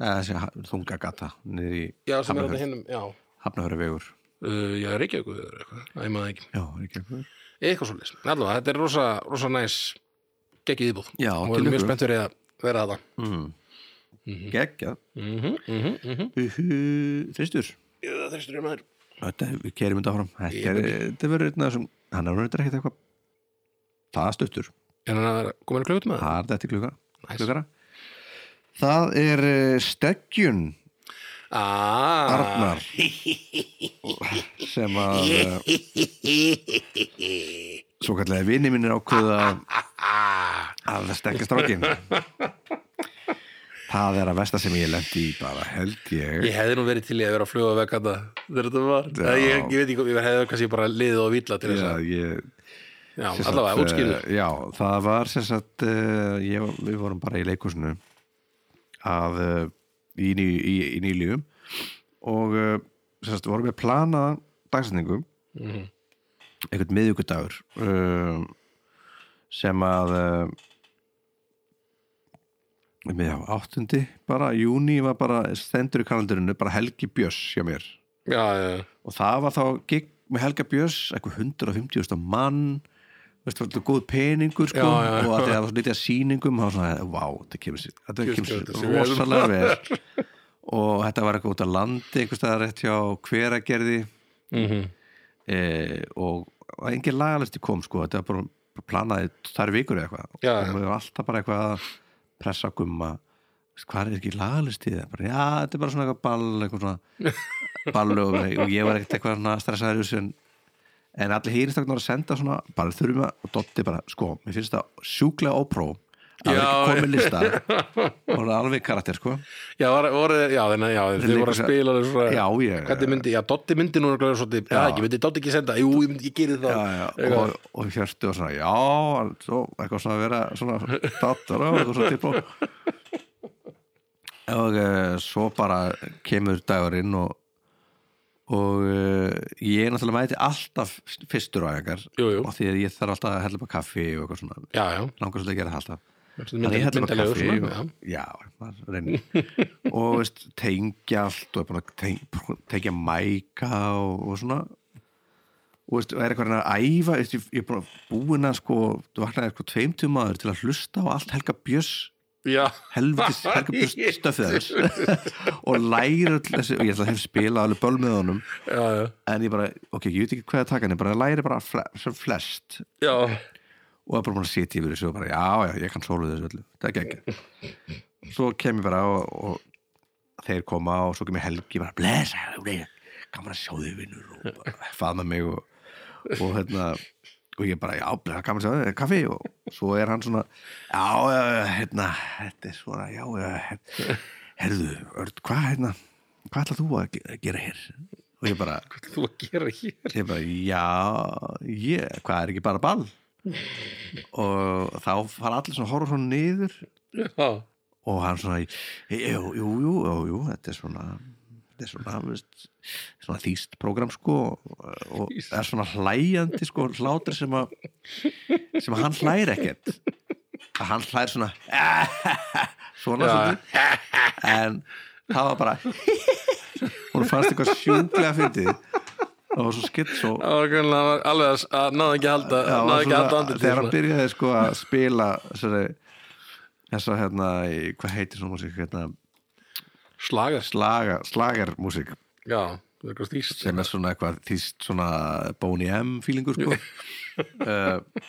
B: Eða, þessi þunga gata niður í
A: já, sem er
B: Hafnarfjörð.
A: þetta hinnum, já
B: Hafnarfjörðavegur
A: uh, já, Reykjavík eða eitthvað, Æ, ég maður það ekki
B: já, er ekki eitthvað
A: eitthvað svo leys, allavega, þetta er rosa, rosa næs geggið íbúð
B: Já,
A: og
B: til
A: erum mjög
B: lukku.
A: spenntur í að vera að það
B: mm. geggjað
A: mm -hmm, mm -hmm.
B: Uhu, þristur
A: það þristur ég maður
B: þetta, við kerum þetta áfram þetta er-
A: Yfir.
B: þetta verður einn af þessum hann er verður ekkert eitthvað það er stuttur
A: er hann að vera komin að klukkutum að það?
B: það er þetta í klukka
A: Næs.
B: klukkara það er eh, steggjun
A: aaa Ah.
B: Arnar sem að eh, svo kallega vini mínir ákveða að stekja strákin það er að versta sem ég lendi í bara held ég
A: ég hefði nú verið til í að vera að fluga vekk að það þegar þetta var,
B: Já.
A: Eða ég, ég veit ekki, ég hefði kannski bara liðið og villað til þess
B: Já,
A: að,
B: ég,
A: já,
B: sem sagt,
A: allavega, útskýrðu
B: eh, já, það var sem sagt eh, ég, við vorum bara í leikúsinu að eh, í, ný, í, í nýlíum og eh, sem sagt vorum við planaða dagsetningu
A: Mhm.
B: einhvern eh, miðvíkudagur um, sem að uh, Já, áttundi bara, júni var bara stendur í kalendarinu, bara Helgi Björs hjá mér
A: já, já,
B: og það var þá gig með Helga Björs eitthvað 150.000 mann veistu, þetta var góð peningur sko,
A: Já, já, já.
B: og að það var lítið að sýningum þá var svona, vá, þetta kemur sér þetta
A: Just,
B: kemur
A: þetta sé
B: sér
A: vel.
B: rosalega vel og þetta var eitthvað út að landi eitthvað staðar rétt hjá hveragerði
A: Mhm.
B: e, og og engin lagalisti kom sko, þetta var bara, bara planaði þær vikur eða eitthvað
A: Já, já.
B: og við var alltaf bara eitthvað að pressa gumma hvað er ekki lagalisti eða bara, já, þetta er bara svona eitthvað ball eitthvað svona ballu og, og ég var ekkert eitthvað svona stressaður í þessu en, en allir hýristaknar að senda svona bara þurfum að, og Dotti bara, sko mér finnst það sjúklega ópró að það er
A: Já,
B: ekki komið lista og það er alveg karakter, sko
A: já, var, voru, já, þeirna, já þið
B: líka
A: voru að
B: svo-
A: spila þessu svona-
B: Já, ég-
A: Hvernig myndi, já, Dotti myndi núna glæður svolítið, já, ekki, myndi Dotti ekki senda, jú, ég, myndi, ég geri það
B: já, já,
A: Eitthvað.
B: og, og hjörtu og svona, já svo, eitthvað svona að vera svona dattar og eitthvað svona tilbúið og uh, svo bara kemur dagurinn og og uh, ég náttúrulega mæti alltaf fyrstur á einhver
A: Jú, jú.
B: og því að ég þarf alltaf að hella bara kaffi og eitthvað svona
A: já, já,
B: langar svolítið að gera það alltaf Þannig
A: myndi,
B: ég hella bara
A: myndalegur
B: hérna kaffi
A: svona, já.
B: og, Já, maður reynir Og veist, tengja allt og er búin að teng, pró- tengja mæka og, og svona og veist, og er eitthvað að reyna að æfa veist, ég, ég er búin að búin að sko þú vaknaði sko tveim tímaður til að hlusta á allt Helga Björs
A: já,
B: helvitis Helga Björs stöfið þess og læra öll þessi og ég ætla að hef spila alveg böl með honum
A: já, já,
B: en ég bara, ok, ég veit ekki hvað að taka en ég bara læri bara fle, sem flest
A: já,
B: og er bara búin að sitja yfir þessu og bara já, já, ég kann sólu þessu öllu, það er ekki svo kem ég bara og, og þeir koma og svo kem ég helgi bara blessa, gaman að sjá þig vinnur og bara faðma mig og, og hérna og ég bara, já, blessa, gaman að sjá þig, kaffi og svo er hann svona, já, já, já, hérna þetta er svona, já, já her- herðu, Örn, hvað hérna hvað ætlar þú að ge- gera hér og ég bara,
A: hvað ætlar þú að gera hér
B: ég bara, já, ég, hvað er ekki bara ball? og þá fara allir svona horfa svona niður
A: já,
B: og hann svona, jú, jú, jú, jú, jú þetta er svona þetta er svona, veist, svona þýst program sko og það er svona hlæjandi sko hlátur sem að sem að hann hlæri ekkert að hann hlæri svona svona
A: Já.
B: svona en það var bara hún fannst eitthvað sjúklega fyndið og svo skitt svo
A: það var greinlega alveg að- að náða ekki að halda,
B: Já,
A: náða
B: var
A: ekki að halda
B: svona,
A: andið
B: þegar hann byrjaði sko að spila þessari þessar hérna, í- hvað heitir svona músík hérna,
A: slagast,
B: slaga, slagarmúsík
A: já, það er eitthvað stýst
B: sem er svona eitthvað þýst svona Boney M feelingur sko uh,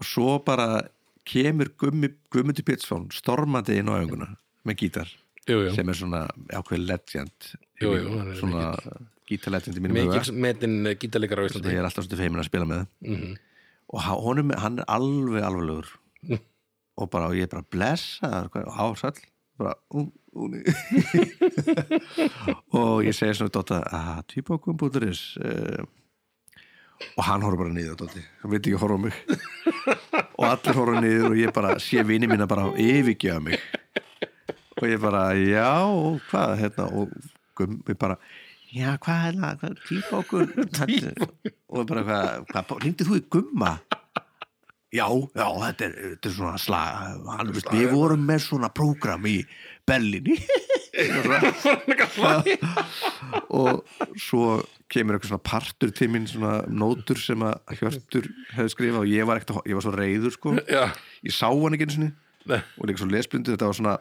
B: og svo bara kemur Gummi, Gummundi Pétsson stormandi inn á öfunguna með gítar
A: jú, jú,
B: sem er svona ákveð legend í
A: Jú, jú,
B: mínum-
A: hann er
B: svona gítarlegend í mínum huga
A: mikils metin gítarleikar á
B: sem
A: Íslandi Mhm.
B: ég er alltaf svolítið feimin að spila með og ha- honum, hann er alveg alveglegur og bara, og ég er bara blessaður hvað- og hásall bara, ú, ú, nei. og ég segi svona við "Ah, Dotta, að tvíbókum búturis uh, og hann horfður bara niður Dotti, hann veit ekki að horfa á mig og allir horfður niður og ég bara sé vini mína bara yfirgefa mig og ég bara, já, og hvað hérna, og gummi bara já, hvað hérna, hvað, tvíbókur og bara, hvað, hvað hringdi þú í gumma? Já, já, þetta er, þetta er svona slag, hann, veist, við vorum með svona prógram í Berlín og svo kemur eitthvað svona partur til mín svona nótur sem að Hjörtur hefði skrifað og ég var, ekkert, að- ég var svo reyður sko
A: já,
B: ég sá hann ekki einu sinni
A: Nei.
B: og líka svo lesblindu, þetta var svona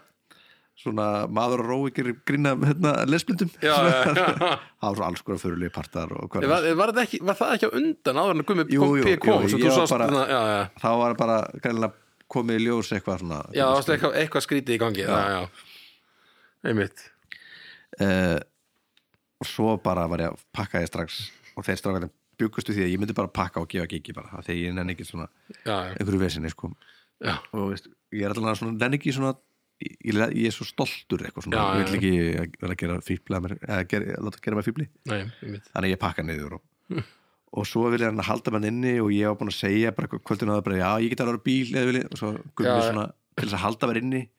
B: svona maður að rói gerir grína hérna, lesblindum
A: já, já, já
B: það var svo alls konar fyrirlið partar og hvað
A: Var, var, það ekki, var það ekki á undan áður en að gummi
B: Jú,
A: kom
B: jú,
A: P kom
B: jú,
A: svo
B: ég
A: þú
B: var
A: sást
B: bara-
A: hérna, já, já,
B: þá var bara gælinlega komið í ljós eitthvað svona
A: já, það varst eitthvað, eitthvað skrítið í gangi já, já, einmitt
B: Eh, og svo bara var ég að pakka ég strax og þeir strákarnir byggustu því að ég myndi bara pakka og gefa gigi bara af því að ég nenni ekki svona
A: já, já,
B: einhverju vesinni sko
A: já,
B: og veist, ég er allan að svona nenni ekki svona ég, ég er svo stoltur eitthvað svona
A: Já,
B: ég
A: já,
B: vil ekki að, að gera fíbli að mér, að gera, að láta gera mér fíbli
A: nei, einmitt
B: þannig að ég pakka niður og, og svo vil hann halda mann inni og ég var búin að segja bara kvöldin áður bara já ég get alveg á bíl eða vilja og svo
A: Já,
B: gummi
A: já.
B: svona til þess að halda mér inni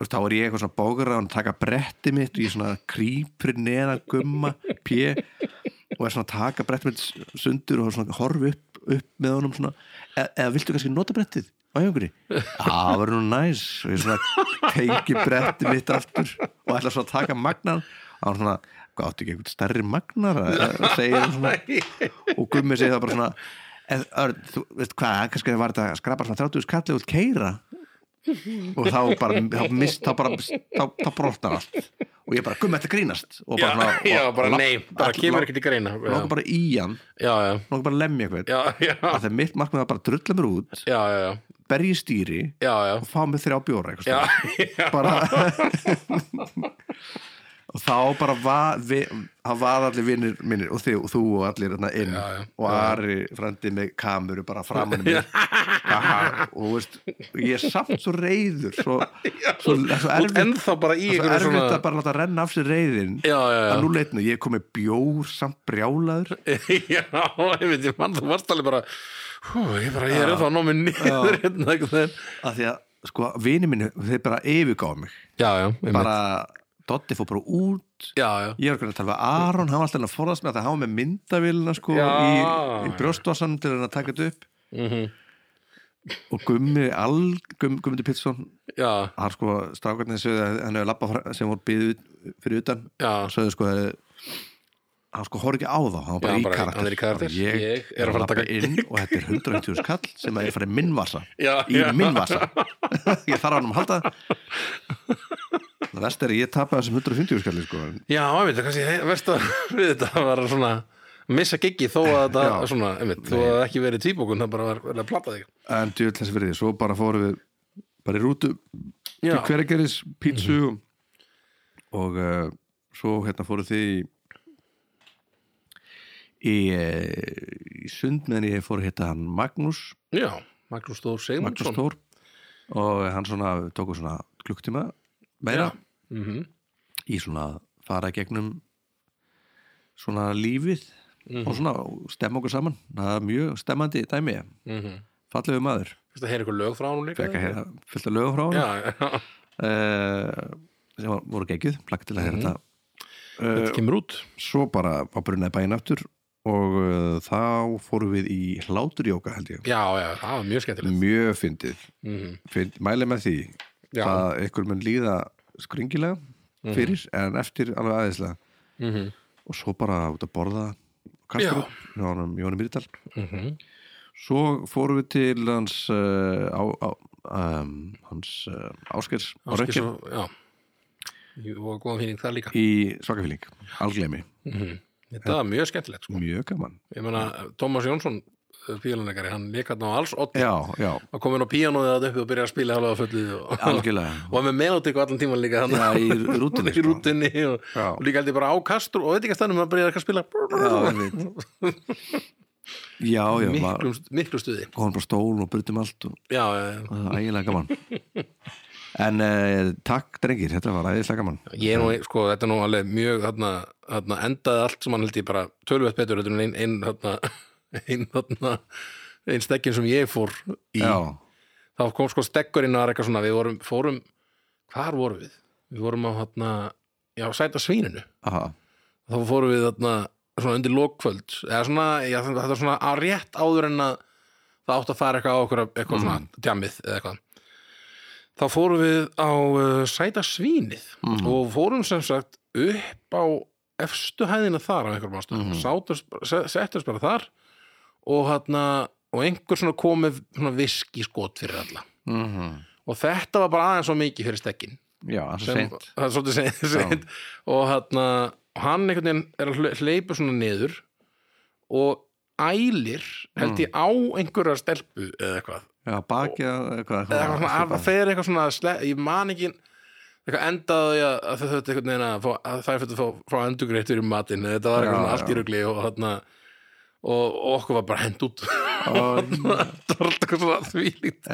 B: og þá er ég eitthvað svona bókur að hann taka bretti mitt og ég svona krýpur neðan gumma pjö og er svona að taka bretti mitt sundur og svona horfi upp, upp með honum svona "E- eða viltu kannski nota brettið æfingri það var nú næs og ég svona teiki bretti mitt aftur og ætla svo að taka magnar og hann svona, hvað áttu ekki einhvern stærri magnar að segja hann svona og gummi segir það bara svona en Örn, þú veist hvað, kannski var þetta að skrapa svona 30 skalli út keira og þá bara, þá mist þá bara, þá, þá brotnar allt og ég bara, gummi þetta grínast og
A: Já,
B: bara, svona,
A: já,
B: og-
A: bara
B: og-
A: nei, bara kemur ekki til greina Já,
B: langar bara í hann,
A: já,
B: langar bara að lemja eitthvað
A: já, já, já,
B: að það mitt markmið var bara að drulla mér út
A: já, já,
B: berja í stýri
A: já, já.
B: og fá mig þrjá bjóra eitthvað
A: Já,
B: svona.
A: já,
B: bara og þá bara var, vi, það var allir vinnir minnir og, þið, og þú og allir þarna inn
A: Já, já.
B: og Ari frændi með kamuru bara framan í mér Aha, og þú veist, ég er samt svo reyður svo, svo, svo
A: Þú ert
B: erfitt
A: ennþá bara í
B: svo
A: einhverju
B: erfitt
A: svona
B: að bara láta renna af sér reyðin
A: Já, já, já.
B: að nú leitinu, ég kom með bjór samt brjálaður
A: Já, ég veit, ég mann, þú varst alveg bara Hú, ég bara, ég er ennþá nómið niður hérna einhvern veginn
B: að því að, sko, vini minni þeir bara yfirgáðu mig
A: Já, já, einmitt.
B: bara, Doddi fór bara út
A: já, já,
B: Ég var ekki að tala við Aron, hann var alltaf að forðast með að það hafa með myndavélina sko
A: Já.
B: í, í brjóstvarsanum til hann að taka þetta upp
A: Mhm.
B: og Gummi Al, Gum, Gummi Pilsson
A: já,
B: hann sko, strákarnir sögðu að hann hefur labbað fra- sem voru byggð fyrir utan
A: já
B: sögðu sko að hann sko horf ekki á þá, hann var bara í
A: Já, bara í-
B: karakter
A: hann er í karakter.
B: Bara ég,
A: Ég er að fara að
B: labba
A: taka
B: inn og þetta er 120 skall sem að er farið minnvasa
A: Já,
B: í
A: já.
B: minnvasa ég þarf á hann um að halda það verst er að ég tapaði þessum 150 skalli sko en
A: Já, einmitt, það er kannski verst að við þetta var svona missa giggi þó að þetta
B: Já.
A: svona, einmitt, þó að það ekki verið tvíbókun það bara var verið að plata þig
B: en djöðl þess verið, svo bara fórum við bara í rútu
A: Já. Mhm.
B: til hverageris pítsu og uh, svo hérna fórum þið í í, eh, í sund meðan ég fór að hitta hann Magnús,
A: Já, Magnús Stór
B: Magnús
A: Sigmundsson
B: Stór og hann svona tóku svona klukktíma meira
A: Já, mhm,
B: í svona fara í gegnum svona lífið og svona og stemma okkur saman það er mjög stemmandi dæmi
A: mhm
B: fallegu maður,
A: Fyrst að heyra ykkur lög frá hún líka
B: fekk að heyra fullt að lögum frá hann
A: Já, já,
B: uh, sem var- voru geggjuð plakk til að
A: Mhm.
B: heyra þetta Eh,
A: þetta kemur út
B: svo bara var brunnaði bæinn aftur og uh, þá fórum við í hláturjóka held ég
A: Já, já, það var mjög skemmtilegt
B: mjög fyndið Fynd, mæli með því
A: Já.
B: að ykkur mun líða skringilega fyrir en eftir alveg aðeinslega
A: Mhm.
B: og svo bara út að borða kastur hjá honum Jóni Myrdal
A: Mhm.
B: svo fórum við til hans uh, á, á, um, hans uh, Áskers á
A: Ásgeir
B: Rökkjum
A: svo- Já, Jú, og góðan fíling það líka Mhm.
B: í svakafíling, alglemi
A: Þetta var mjög skemmtilegt, sko
B: mjög gaman
A: Ég meina, Tómas Jónsson pílunleikari, hann leik hann á alls oddi
B: já, já,
A: að komin á píanóðið að uppi og byrja að spila hálfa fullið og,
B: algjörlega
A: og var með melódik á allan tíman líka hann
B: já, í rútinni
A: í rútinni og,
B: Já.
A: og líka held ég bara á kastur og veit ekki að stannum að byrja eitthvað að spila
B: sko. já, einmitt. já, já maður-
A: miklu, miklu stuði
B: og hann bara stól og brutum allt og
A: já, já,
B: og það var ægilega gaman en uh, takk drengir, þetta var ægilega gaman
A: já. ég er nú, sko, þetta er nú alveg mjög þarna, þarna endaði allt sem hann held ég bara tölvöld betur þetta er einn ein, þarna einn þarna einn stekkin sem ég fór í
B: já,
A: þá kom sko stekkurinn og var eitthvað svona við vorum, fórum, hvar vorum við? við vorum á þarna, já, sæta svíninu
B: aha,
A: þá fórum við þarna svona undir lokkvöld eða svona, já, þetta var svona að rétt áður en að það átt að fara eitthvað á okkur eitthvað svona djamið eða eitthvað þá fórum við á uh, sæta svínið
B: Mm.
A: og fórum sem sagt upp á efstu hæðina þar af einhverjum ástæðum mm
B: Mhm.
A: settast bara þar og þarna og einhver svona komið svona viski skot fyrir alla
B: mhm
A: og þetta var bara aðeins svo mikið fyrir stekkin
B: já, það er svo
A: sem,
B: seint
A: það er svolítið seint, seint. og hann, hann einhvern veginn er að hl- hleypa svona niður og ælir held ég á einhverja stelpu eða eitthvað,
B: já, bakið eða eitthvað,
A: eða eitthvað svona, að fer eitthvað svona sle, ég man ekki eitthvað endaði að, að þau þetta einhvern veginn að, fá- að það er fyrir að fá, fá endugreittur í matinn þetta var
B: Já,
A: eitthvað svona allt
B: já.
A: í rugli og þarna og, og okkur var bara hend út það
B: svona
A: var alltaf eitthvað svona þvílíkt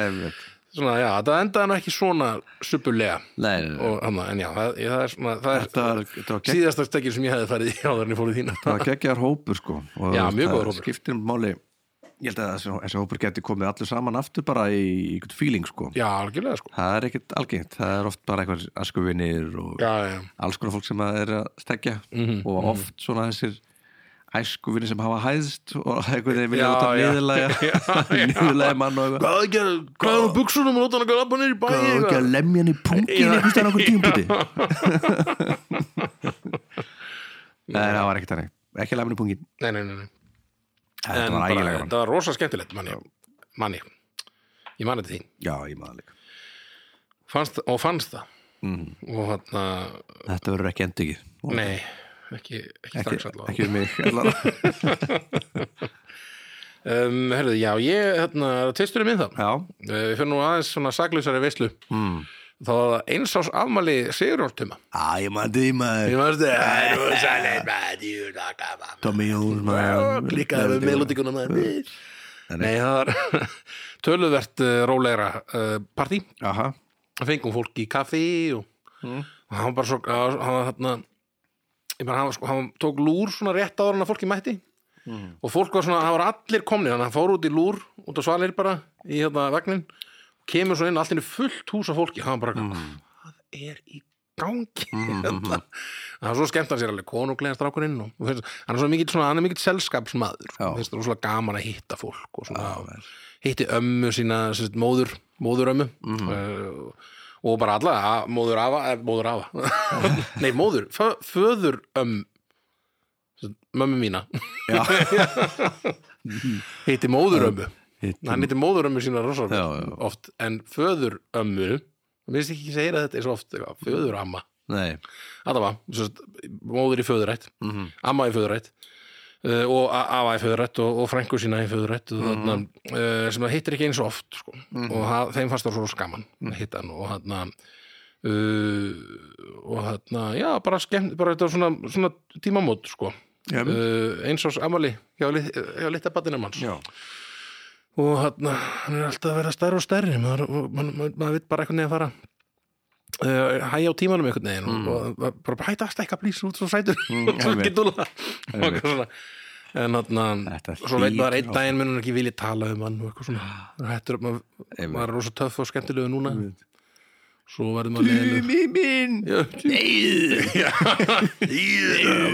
A: svona já, þetta endaði nú ekki svona suppulega
B: nei, nei, nei
A: og hann, en já, það, ég, það er svona það er,
B: þetta var, þetta var gegg-
A: síðasta stekkin sem ég hefði farið í áður en ég fóruð þína
B: þetta var geggjar hópur sko og
A: Já, mjög
B: það
A: góður hópur.
B: skiptir um máli ég held að þessi, þessi hópur geti komið allir saman aftur bara í ykkur feeling sko
A: já, algjörlega sko
B: það er ekkert algengt, það er oft bara eitthvað askuvinir og
A: já, já, Mhm,
B: alls konar fólk sem að er að stekja og oft svona þessir æskuvinni sem hafa hæðst og eitthvað þeir
A: Já,
B: vilja út að
A: já.
B: niðurlega niðurlega mann og eitthvað
A: Hvað er ekki að, hvað er á buksunum og láta hann að lappa niður í bæi
B: og ekki að
A: eitthvað?
B: lemja hann í
A: Já.
B: pungin eitthvað stæðan okkur tímpúti Nei, það var ekkert þannig ekki að lemja hann í pungin
A: Nei, nei, nei, nei.
B: Þetta
A: En
B: var
A: bara,
B: ægilega gaman
A: þetta var rosa skemmtilegt, manni. Manni, ég mani þetta þín.
B: Já, ég maður líka
A: Fannst, og fannst það.
B: Mm.
A: Og hann
B: Þetta verður ekki endugið
A: nei, ekki, ekki
B: ekki,
A: strax allavega.
B: ekki um mig allavega.
A: Um, herðu, já, ég, hérna, testurinn minn það.
B: Já,
A: Eh, Við fyrir nú aðeins svona saklausari veislu.
B: Mm.
A: Þá var það eins ás afmæli Sigurjónstumma.
B: Á, ég maður því maður
A: varst það, það er rosalega, maður, ég er að gafa.
B: Tommy Jones maður
A: klikkaði með melodíkunum maður. Nei, það var töluvert uh, rólegra uh, partí
B: Aha,
A: fengum fólk í kaffi og, og hann var bara svo hann var þarna ég bara, hann, var sko, hann tók lúr svona rétt áður en að fólki mætti
B: Mm,
A: og fólk var svona, hann var allir komnir þannig að hann fór út í lúr, út á svalir bara í þetta vagnin, kemur svo inn allt inni fullt hús af fólki, hann bara hvað er í gangi
B: mm.
A: hérna það er svo skemmt hann sér alveg konunglega strákurinn og, og finnst, hann er svo mikill svona, hann er mikill selskapsmaður
B: Já.
A: finnst það rosalega gaman að hitta fólk og svona,
B: Já, vel.
A: hitti ömmu sína sérst, móður, móðurömmu
B: Mhm.
A: uh, og bara alla a- móður afa, eh, móður afa nei, móður, fö, föður ömm mömmu mína
B: já,
A: hitti móðurömmu
B: Hittum-
A: hann hitti móðurömmu sína rosa
B: Já, já.
A: oft en föðurömmu minnst ekki segir að þetta er svo oft eitthvað, föðuramma
B: nei
A: Þetta var, sérst, móður í föðurætt
B: Mhm.
A: amma í föðurætt uh, og a- afa í föðurætt og, og frængu sína í föðurætt mm þarna, uh, sem það hittir ekki eins og oft sko. og það, þeim fannst það svo skaman mm -hmm. hittan og þarna uh, og þarna, já, bara skemmt bara þetta var svona, svona tímamót sko.
B: Já, einmitt.
A: uh, eins og amali hjá, lit- hjá litabattinum hans
B: Já,
A: og hann, hann er alltaf að vera stærri og stærri maður, og maður, maður, maður veit bara einhvern veginn að fara uh, hæja á tímanum einhvern veginn og, og, og bara hæta að stækka plís út svo sætur
B: Mm,
A: svo
B: einmitt.
A: getúla og eitthvað svona en hann,
B: Þetta
A: svo veit maður einn
B: hlýtur
A: daginn mun hann ekki vilja tala um hann og eitthvað svona Maður er hættur, maður,
B: Einmitt.
A: maður er rosa töff og skemmtilegu núna
B: Einmitt.
A: svo verður maður leiðilegur.
B: minn
A: Já,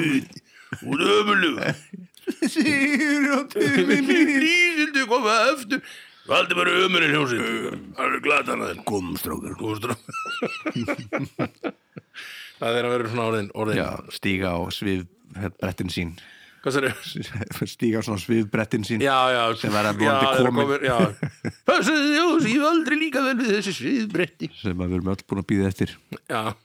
A: Nei Hún er ömulug
B: Sigurjóttumi
A: Lísildu koma eftir Valdimar er ömurinn hjá sér Hann er glatan að þeim
B: Gómstrókar
A: Góðströmm Það er að vera svona orðin, orðin.
B: Já, stíga á svið brettin sín
A: Hvað sér
B: Stíga á svona svið brettin sín
A: Já, já
B: Sem verða vonandi
A: Já, þeir eru
B: komin.
A: komnir, Já, þessi ljós Ég hef aldrei líka vel við þessi sviðbretti
B: Sem að við erum öll búin að býða eftir
A: Já,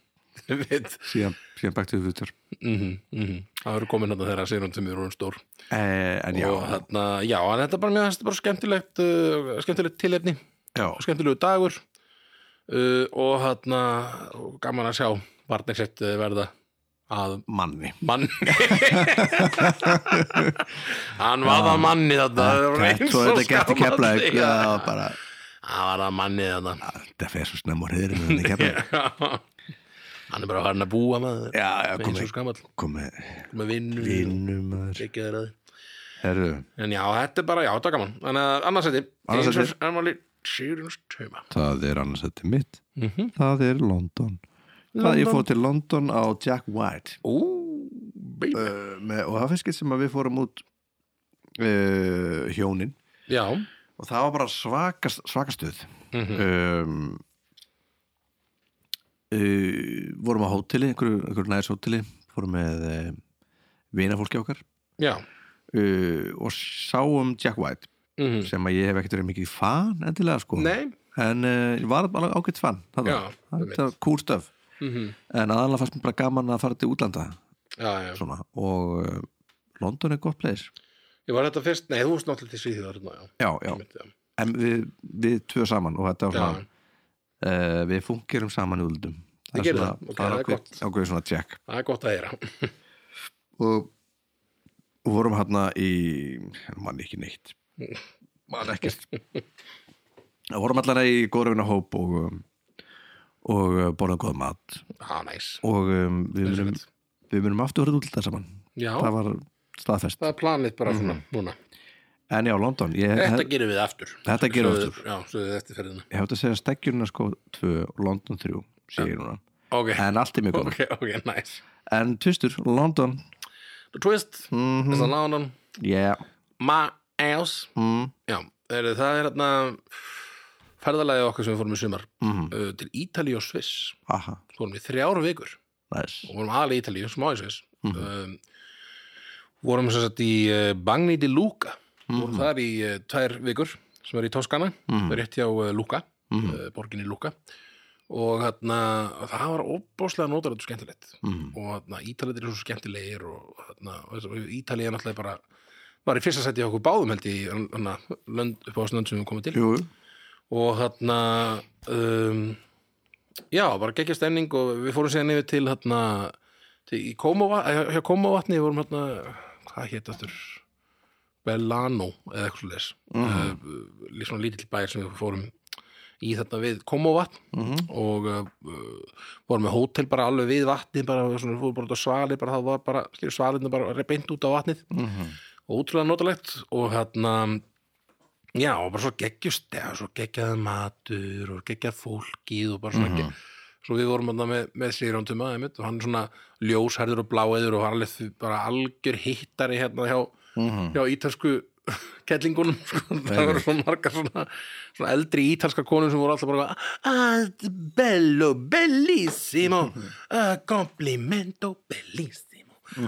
A: ég veit
B: Síðan, síðan bæktu við fyrir
A: Mhm, mhm. Það eru komin þetta þegar að segja hann sem er orðin stór
B: eh, En já,
A: og þarna, já, en þetta er bara, mér finnst þetta bara skemmtilegt uh, skemmtilegt tilefni,
B: já sko,
A: skemmtilegu dagur uh, og þarna og gaman að sjá barnið sitt uh, verða að
B: Manni
A: manni hann var að manni þarna það var eins
B: Svo
A: og
B: þetta gert í
A: skapandi,
B: keflaug
A: já.
B: Já, bara
A: hann var að manni þarna
B: Þetta fer svo snemma á reyðurinn Þetta er keflaug
A: hann er bara hann að búa maður
B: Mm. Já, sko. já,
A: eins og
B: komið
A: skamall
B: Komið
A: með vinnu
B: Vinnum maður
A: ekki að þeirra
B: Herru,
A: En já, þetta er bara, já, þetta er gaman Þannig að annarsætti
B: Annað sæti.
A: Ermáli Sigurins Tuma
B: það er annars þetta er mitt Það er London Það ég
A: London.
B: fór til London á Jack White
A: Ú, baby
B: uh, með, og það finnst ekki sem að við fórum út uh, hjónin
A: Já, mhm.
B: og það var bara svaka, svaka stöð
A: Mm.
B: um, uh, vorum á hóteli einhverju, einhverju nærs hóteli fórum með uh, vinafólki okkar
A: já
B: uh, og sáum Jack White
A: mm
B: sem að ég hef ekkert verið mikið fan endilega sko
A: Nei,
B: en uh, var alveg ágætt fan það
A: Já,
B: var,
A: einmitt.
B: það var cool stuff
A: mm
B: en aðalega fannst mér bara gaman að fara til útlanda
A: já, já
B: svona, og uh, London er gott place
A: Ég var þetta fyrst, nei, þú veist náttúrulega til Svíþjóðar Já,
B: já, já,
A: Einmitt, já.
B: en við, við tvö saman og þetta var
A: já.
B: svona uh, við fungerum saman í úldum
A: Þið gerið það, ok,
B: það
A: það
B: er
A: er
B: ákveð, ákveð svona check
A: Það er gott að heyra
B: og, og vorum hérna í mann ekki neitt mann ekkert og vorum allan í góðröfina hóp og, um, og uh, borðum góð mat
A: Já, næs
B: og um, við munum við munum aftur verið útlita saman
A: Já,
B: það var staðfest
A: það er planið bara svona núna
B: en já, London, ég,
A: Þetta
B: hef-
A: gerum við aftur
B: Þetta gerum við
A: Söður- Já, svo þið eftir ferðina
B: ég hef þetta að segja steggjurna sko 2, London 3 sé ég núna,
A: Ok,
B: en allt er mjög góð
A: ok, ok, næs
B: en tvistur, London Mhm.
A: The Twist þess að lána hann
B: yeah.
A: My Ass
B: mm.
A: Já, er, það er hérna ferðalagið okkar sem við fórum í sumar uh, til Ítali og Sviss
B: Mhm. aha,
A: fórum við þrjár vikur
B: nice
A: og vorum aðlega í Ítalíu, smá í Sviss um, vorum sem sagt í uh, Bagni di Luca vorum þar í uh, tvær vikur sem er í Toskana,
B: Mhm.
A: rétt hjá uh, Luca uh, borginni Luca og þarna, það var óbáslega nótarættu skemmtilegt
B: Mhm.
A: og þarna, Ítalið er svo skemmtilegir og þarna, Ítalið er náttúrulega bara var í fyrsta sæti hjá okkur báðum held ég í hana, lönd, upp á þessu lönd sem við komum til
B: jú, jú.
A: og þarna um, já, bara geggja stemning og við fórum síðan yfir til þarna til, í Kómóva, eh, hjá Kómóvatni við vorum þarna, hvað hétt aftur Belano eða eitthvað svo leis
B: Mhm.
A: uh, svona lítill bæir sem við fórum í þarna við Kómóvatn
B: Mhm.
A: og uh, vorum með hótel bara alveg við vatnið bara, svona, fórum bara út á svali bara, það var bara, skilur svalinu bara beint út á vatnið
B: Mhm.
A: og útrúlega notalegt og hérna já og bara svo geggjust eða svo geggjaði matur og geggjaði fólkið og bara svona mm svo við vorum hérna með, með Sigurjóndum aðeimitt og hann er svona ljósherður og bláeður og hann er alveg því- bara algjör hittari hérna hjá,
B: Mhm.
A: hjá ítalsku kellingunum sko. það voru svo margar svona, svona eldri ítalska konum sem voru alltaf bara ah, bello, bellissimo ah, complimento, bellissimo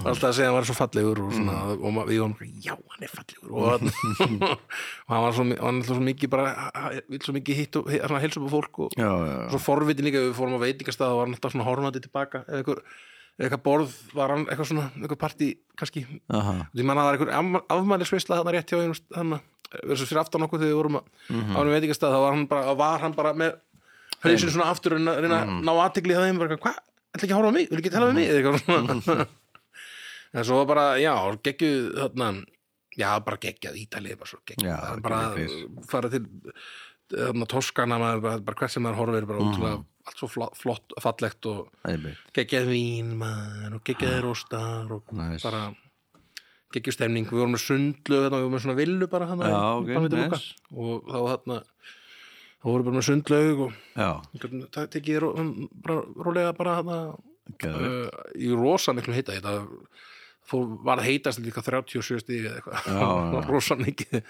A: alltaf að segja að hann var svo fallegur og, svona, og ma- við varum, já, hann er fallegur og, hann- og hann var svo, mi- hann var svo mikið bara, hann vill svo mikið hitt og hilsa upp á fólk og,
B: já, já,
A: og
B: já.
A: svo forvitin líka, við fórum á veitingastað og var hann alltaf svona horfandi tilbaka eða einhver, eða eitthvað borð, var hann eitthvað svona eitthvað partí, kannski
B: Aha.
A: því mann að það var einhver afmælisvisla þarna rétt hjá einum st- þarna, verður svo fyrir aftan okkur þegar við vorum að-
B: Hmm. Mhm.
A: á hann veitingastað, þá var hann bara, var hann bara með hausinn svona aftur og reyna, reyna að ná aðtigli það þeim, bara eitthvað, hvað, ætla ekki að horfa á mig vil ekki tala við mig, eða eitthvað svona en svo var bara, já, geggju þarna, já, bara geggjað ítalið, bara svo geggjað,
B: Já,
A: Það er bara
B: geggjað
A: fara til þarna Toskana, maður, bara, bara hvert sem maður horfir bara ótrúlega, allt svo flott, flott fallegt og
B: einmitt
A: geggjað vín maður og geggjaði róstar og
B: Ah. Nice.
A: bara geggjuð stemning, við vorum með sundlu hérna, við vorum með svona villu bara hann
B: Já, ok, nice.
A: og þá þarna þá vorum við bara með sundlaug og
B: já,
A: gátum- það tekið ró- um, bara rólega bara hann
B: geðveikt.
A: uh, í rosa miklum hita þetta fór, var að heitast líka 37 stíði eða
B: Já, já.
A: eitthvað rosa mikið,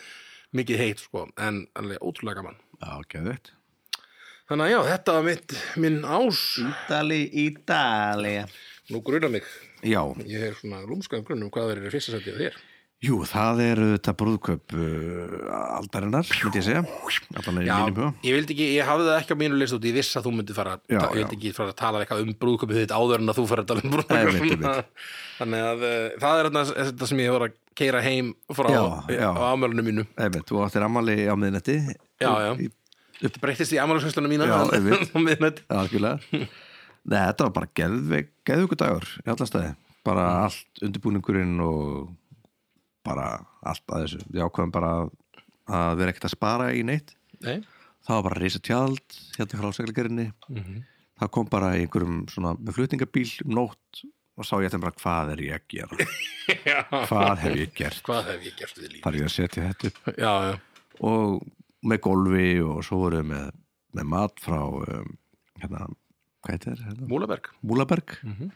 A: mikið heit sko en alveg ótrúlega gaman
B: já, geðveikt
A: þannig að já, þetta var mitt, minn ás
B: Ítali, Ítali
A: nú gruna mig,
B: já,
A: ég hef svona lúmskaðum grunum hvað þeir eru fyrsta setja þér
B: jú, það er þetta brúðkaup uh, aldarinnar, myndi ég segja allan er í
A: Já,
B: mínum huga
A: ég vildi ekki, ég hafði það ekki á mínu list út, ég viss að þú myndi fara
B: Já,
A: ég vildi ekki fara að tala eitthvað um brúðköpið þitt áður en að þú fara að tala um brúðköpið
B: Einmitt,
A: svona. þannig að uh, það er þarna- þetta sem ég var að keira heim frá
B: Já, já.
A: á ámjölunum mínu
B: einmitt, þú áttir ammali á miðnætti
A: Já, já.
B: Í-
A: Þetta breyttist í amálusveislunum mína
B: Já, einmitt.
A: á miðnætt
B: Já, algjörlega Nei, þetta var bara geðveik, geðveiku dagur í alla staði, bara allt undirbúningurinn og bara allt að þessu, við ákveðum bara að vera ekkert að spara í neitt
A: Nei,
B: það var bara reysa tjald hérna frá seglagerinni
A: Mhm.
B: það kom bara í einhverjum svona með flutningabíl um nótt og sá ég þetta bara hvað er ég að gera
A: já,
B: hvað hef ég gert,
A: hvað hef ég gert við líf
B: þar ég að setja þetta upp
A: Já, já,
B: og með golfi og svo voru við með, með mat frá um, hérna, hvað heitir þetta? Hérna?
A: Múlaberg
B: Múlaberg mm
A: Mhm.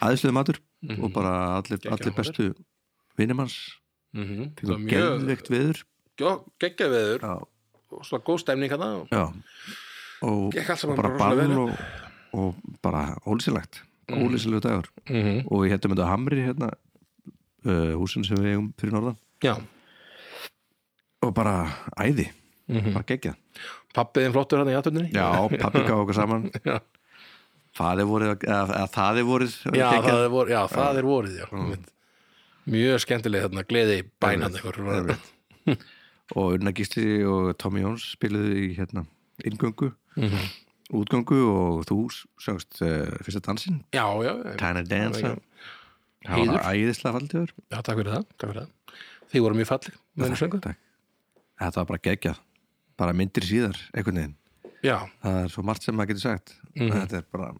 B: aðeinslega matur og bara allir, allir bestu vinnumans
A: mm -hmm. Það var
B: fengum
A: mjög
B: geðveikt viður
A: geggja veður
B: já,
A: og svo góð stemning hana og
B: já. og
A: Gekk allt saman
B: og bara ball
A: bara rosalega vel
B: og, og bara ólýsilegt ólýsilegu dagur
A: Mhm.
B: og ég hættum þetta hamri hérna uh, húsin sem við eigum fyrir norðan
A: Já,
B: og bara æði,
A: Mhm.
B: bara geggjað
A: pappiðin flottur hann í aðtöndinni
B: já, pappi gaf okkur saman
A: Já.
B: faði voruð eða, eða þaði voruð
A: Já,
B: geggjað.
A: það er, vor, já, Mm. það er vorið já. einmitt. Mjög skemmtileg þarna, gleði í bænan ykkur
B: og Unna Gísli og Tommy Jones spiluðu í hérna inngöngu,
A: Mhm.
B: útgöngu og þú söngst uh, fyrsta dansinn
A: Já, já, já,
B: Tiny Dancer það
A: Heiður.
B: var æðislega faldiður
A: já, takk fyrir það, takk fyrir það. Þið voru mjög falleg með henni söngu
B: þetta var bara geggjað bara myndir síðar, einhvern veginn
A: Já,
B: það er svo margt sem maður getur sagt
A: Mhm.
B: þetta er bara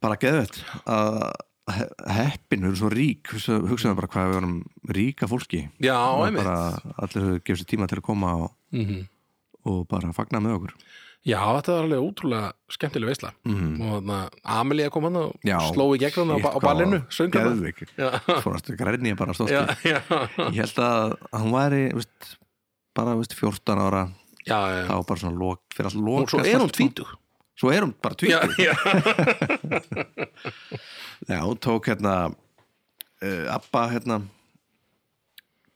B: bara geðvett að he- heppin, við erum svo rík hugsa- hugsaðum bara hvað við erum ríka fólki
A: já,
B: Og
A: einmitt
B: bara allir hefur gefið sér tíma til að koma og,
A: Mhm.
B: og bara fagna með okkur
A: Já, þetta var alveg ótrúlega skemmtileg veisla mm. og þannig að Amelie kom hann og
B: Já,
A: sló í gegn hann á, ba- á
B: shit,
A: ballinu
B: hvað-
A: söngur hann
B: Geðveik. Fór aftur að grænja bara stótt
A: Já, já,
B: Ég held að hann væri veist, bara veist, 14 ára
A: já, já.
B: þá bara svona lok, fyrir að
A: og
B: loka
A: svo er hún tvítug
B: Svo er hún bara
A: Já,
B: tvítug
A: já,
B: Já, hún tók hérna uh, Abba hérna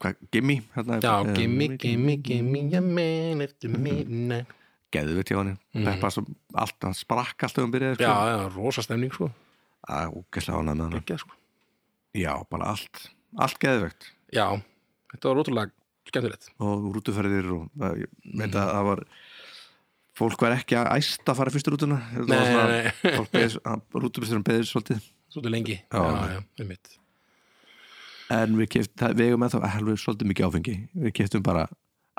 B: hvað, Gimmi hérna,
A: já,
B: eh,
A: gimme, gimme, gimme a man eftir midnight
B: Geðveikt hjá henni Peppa svo, allt, hann sprakk alltaf um byrjaði
A: Mhm. Já,
B: sko.
A: já, rosa stemning sko,
B: Að, ógeðslega ánægð með hana.
A: ekki, sko.
B: Já, bara allt Allt geðveikt
A: Já, þetta var ótrúlega skemmtilegt
B: og rútuferðir og eh, ég veit
A: Mhm.
B: að það var fólk var ekki að æsta að fara fyrstu rútuna Þetta var
A: Nei,
B: svona-
A: nei, nei.
B: fólk beðið- að rútubesturinn beðið svolítið
A: Svolítið lengi, já,
B: Já.
A: já, um mitt
B: en við keftum, við eigum ennþá alveg svolítið mikið áfengi, við keftum bara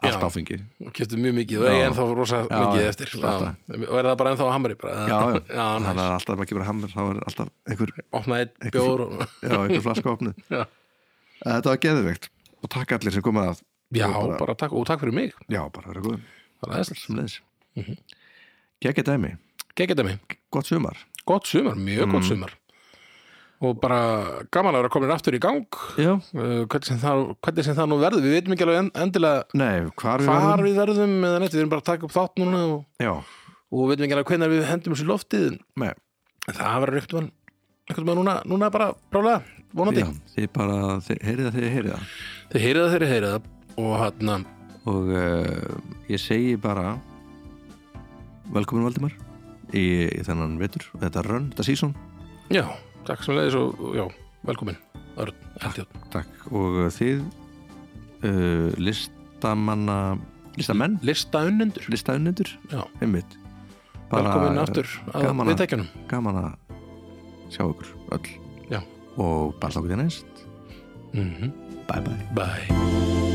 B: allt
A: Já.
B: áfengi
A: og keftum mjög mikið og ég
B: Já.
A: ennþá rosa
B: Já,
A: mikið
B: já,
A: eftir já,
B: þetta.
A: og er það bara ennþá á hamri bara
B: já, já,
A: já
B: þannig
A: hann
B: að alltaf maður kemur að hammer þá er alltaf einhver,
A: opnaði einn bjór og,
B: já, einhver flaska opnið
A: Já.
B: þetta var geðveikt og takk allir sem komað að
A: já,
B: Og
A: bara, takk, og takk fyrir mig
B: já, bara verið góðum,
A: það er Mhm. aðeinslega,
B: sem leðis gekkja dæmi,
A: gekkja dæmi
B: gott sumar
A: gott sumar, mjög
B: Mm.
A: gott sumar og bara gaman að vera komin aftur í gang
B: já,
A: uh, hvernig sem það, hvernig sem það nú verður við veitum ekki alveg en- endilega
B: nei, hvar við
A: hvar
B: verðum
A: við verðum eða neitt, við erum bara að taka upp þátt núna og,
B: já,
A: og veitum ekki alveg hvernig við hendum þessu í loftið en
B: nei,
A: það verður einhvern veginn einhvern veginn núna, núna bara brálega, vonandi
B: já þið bara, þið, heyrið það, þið heyrið það
A: þið heyrið það, þeir heyrið það og hérna, hann
B: og uh, ég segi bara velkomin Valdimar í, í þennan vetur, þetta rönn, þetta sísón
A: Já, takk sem leiðis og og já, velkomin Örn, Eldjón
B: Takk og uh, þið uh, listamanna listamenn,
A: Lista unnendur
B: listaunendur
A: Já.
B: einmitt
A: Velkomin aftur að
B: gaman að-
A: við tekjunum
B: gaman að sjá ykkur öll
A: Já.
B: og bara þá ekki næst
A: mm
B: bye bye
A: Bye